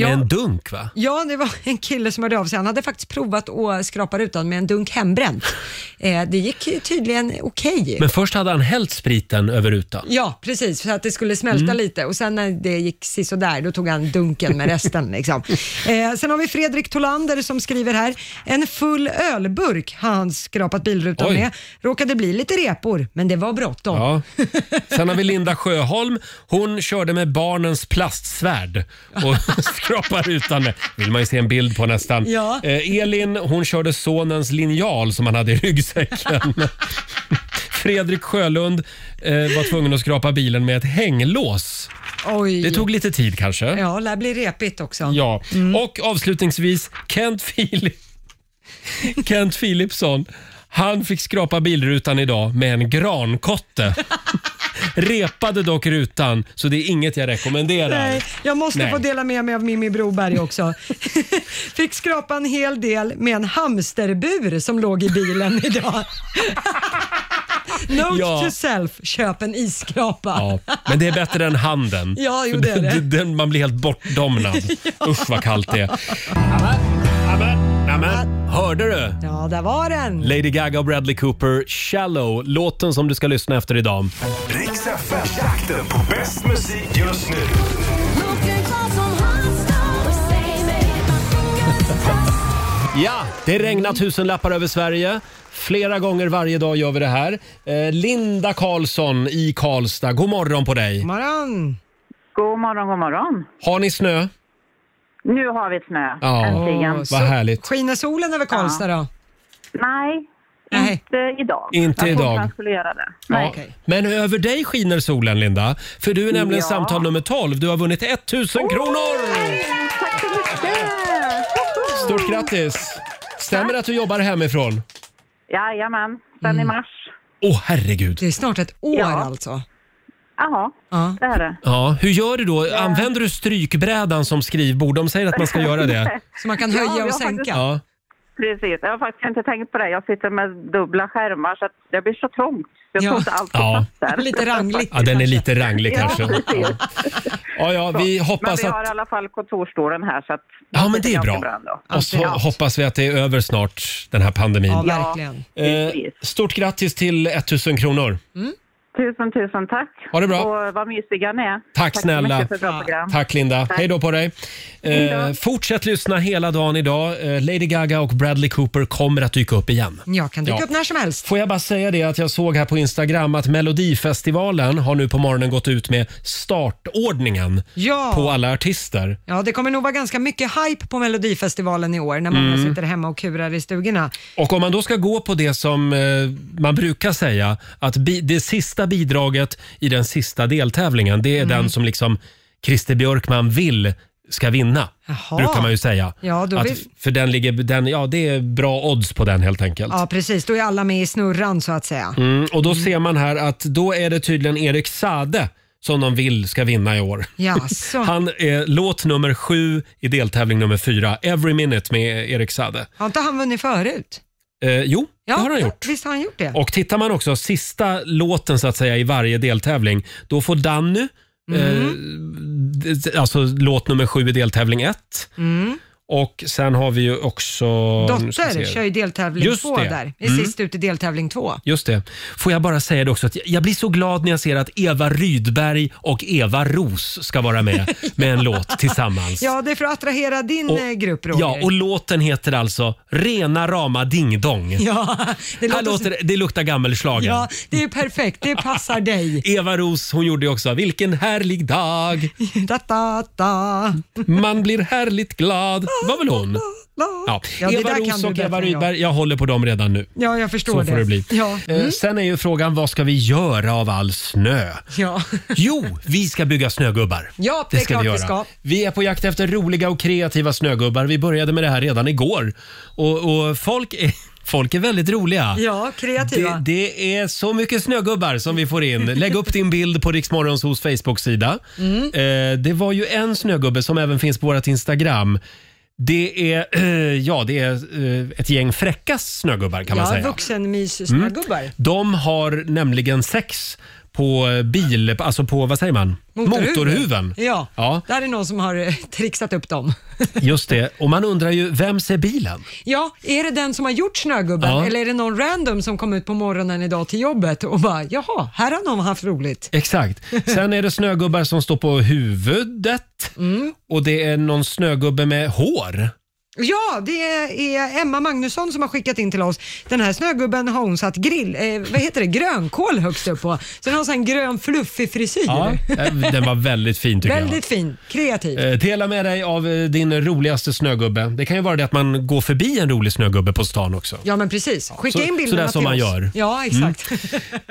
Ja.
en dunk va?
Ja, det var en kille som hörde av sig. Han hade faktiskt provat att skrapa rutan med en dunk hembränt. Eh, det gick tydligen okej.
Men först hade han hällt spriten över rutan.
Ja, precis, för att det skulle smälta
Mm.
lite och sen när det gick sisådär, då tog han dunken med resten. liksom. eh, sen har vi Fredrik Tolander som skriver här, en full ölburk har han skrapat bilrutan
Oj.
med. Råkade bli lite repor, men det var bråttom.
Ja. Sen har vi Linda Sjöholm. Hon körde med barnens plastsvärd och skrapar rutan med. vill man ju se en bild på nästan.
Ja.
Eh, Elin hon körde sonens linjal som han hade i ryggsäcken. Fredrik Sjölund eh, var tvungen att skrapa bilen med ett hänglås.
Oj.
Det tog lite tid kanske.
Ja, det blir repigt också.
Ja,
Mm.
och avslutningsvis Kent Philip. Kent Philipsson. Han fick skrapa bilrutan idag med en grankotte. Repade dock rutan, så det är inget jag rekommenderar.
Nej, jag måste
Nej.
få dela med mig av Mimmi Broberg också. Fick skrapa en hel del med en hamsterbur som låg i bilen idag. Note
Ja.
to self, köp en isskrapa.
Ja, men det är bättre än handen.
Ja, jo,
För
det är det.
Den, den, man blir helt bortdomnad. Usch vad kallt det är. Amen, amen. Hörde du?
Ja, där var den.
Lady Gaga och Bradley Cooper, Shallow, låten som du ska lyssna efter idag.
Riks FM, jakten på bäst musik just nu.
Ja, det regnar tusenlappar över Sverige. Flera gånger varje dag gör vi det här. Eh, Linda Karlsson i Karlstad, god morgon på dig.
morgon.
God morgon, god morgon.
Har ni snö?
Nu har vi snö.
Ja,
äntligen.
vad härligt.
Skiner solen över Karlstad då?
Nej, inte idag.
Inte
jag trodde
idag.
han skulle göra det.
Ja.
Nej.
Men över dig skiner solen, Linda. För du är nämligen
Ja.
samtal nummer 12. Du har vunnit 1000 kronor!
Tack så mycket!
Stort grattis! Stämmer det att du jobbar hemifrån? Mm.
Jajamän, sen i mars.
Åh, herregud.
Det är snart ett år alltså.
Jaha, det är det.
Ja, hur gör du då? Använder du strykbrädan som skrivbord? De säger att man ska göra det.
Så man kan
Ja,
höja
jag
och
har
sänka?
faktiskt-
Ja.
Precis, jag har faktiskt inte tänkt på det. Jag sitter med dubbla skärmar så att det blir så trångt. Jag
Ja.
får inte allt på
Ja.
plats där.
Lite rangligt.
ja, den är lite ranglig kanske.
Ja, precis.
Ja, ja, vi
Så, Men
hoppas
vi har
att...
i alla fall kontorstolen här så att...
Ja, men det är
ganska
bra.
ändå.
Och så
Ja.
hoppas vi att det är över snart, den här pandemin.
Ja, verkligen.
Eh, stort grattis till 1000 kronor.
Tusen, tusen tack.
Ha det bra.
Och vad mysiga ni är.
Tack,
så
snälla.
mycket för ett bra program.
Tack Linda.
Tack.
Hej då på dig.
Hej
Eh,
då.
fortsätt lyssna hela dagen idag. Eh, Lady Gaga och Bradley Cooper kommer att dyka upp igen.
Jag kan dyka
Ja.
upp när som helst.
Får jag bara säga det att jag såg här på Instagram att Melodifestivalen har nu på morgonen gått ut med startordningen
Ja.
på alla artister.
Ja, det kommer nog vara ganska mycket hype på Melodifestivalen i år när många
Mm.
sitter hemma och kurar i stugorna.
Och om man då ska gå på det som eh, man brukar säga, att bi- det sista bidraget i den sista deltävlingen, det är
Mm.
den som liksom Christer Björkman vill ska vinna,
Jaha.
brukar man ju säga.
Ja, då
att,
vill-
För den ligger, den, ja, det är bra odds på den helt enkelt.
Ja, precis. Då är alla med i snurran så att säga.
Mm, och då ser man här att då är det tydligen Erik Sade som de vill ska vinna i år.
Jaså.
Han är låt nummer sju i deltävling nummer fyra, Every Minute med Erik Sade.
Har inte han vunnit förut?
Eh, jo,
Ja,
det har han gjort.
Visst har han gjort det?
Och tittar man också sista låten så att säga i varje deltävling, då får Danny, eh, d- alltså låt nummer sju i deltävling ett.
Mm.
Och sen har vi ju också... nu ska vi
Dotter
se.
kör ju deltävling
Just
två
det.
där. Är
Mm.
sist ut i deltävling två.
Just det. Får jag bara säga det också att jag- jag blir så glad när jag ser att Eva Rydberg och Eva Ros ska vara med med en låt tillsammans.
Ja, det är för att attrahera din
Och-
eh, grupp Roger.
Ja, och låten heter alltså Rena rama dingdong.
Ja,
det,
det låter-
låter... Låter, det luktar gammelschlager.
Ja, det är perfekt. Det passar dig.
Eva Ros, hon gjorde ju också “Vilken härlig dag”.
Da, da, da.
Man blir härligt glad. Var väl hon? Ja.
Ja, det
Eva
där kan
Ros
du
och
bättre
Eva
än jag.
Rydberg, jag. håller på dem redan nu.
Ja, jag förstår
Så
det.
får det bli.
Ja.
Eh,
Mm.
Sen är ju frågan, vad ska vi göra av all snö?
Ja.
Jo, vi ska bygga snögubbar.
Ja, det är klart vi ska.
Vi är på jakt efter roliga och kreativa snögubbar. Vi började med det här redan igår. Och, och folk, är, folk är väldigt roliga.
Ja, kreativa.
Det, det är så mycket snögubbar som vi får in. Lägg upp din bild på Riksmorgons hos Facebook-sida.
Mm.
Eh, det var ju en snögubbe som även finns på vårt Instagram. Det är, eh, ja, det är eh, ett gäng fräcka snögubbar kan man
ja,
säga. Mm.
vuxenmys-snögubbar.
De har nämligen sex på bil, alltså på vad säger man? Motorhuven.
Ja,
Ja,
där är någon som har eh, trixat upp dem.
just det. Och man undrar ju, vem ser bilen?
Ja, är det den som har gjort snögubben
Ja.
eller är det någon random som kom ut på morgonen idag till jobbet och bara jaha, här har någon haft roligt.
Exakt. Sen är det snögubbar som står på huvudet och det är någon snögubbe med hår.
Ja, det är Emma Magnusson som har skickat in till oss. Den här snögubben har hon satt grill, eh, vad heter det, grönkål högst upp på. Så den har så här en grön fluffig frisyr.
Ja, eh, den var väldigt fin tycker
Väldigt fin, kreativ.
jag. Eh, Dela med dig av eh, din roligaste snögubbe. Det kan ju vara det att man går förbi en rolig snögubbe på stan också.
Ja men precis, skicka
Så-
in
sådär
bilderna
som
till
man
oss.
gör. Mm.
Ja, exakt.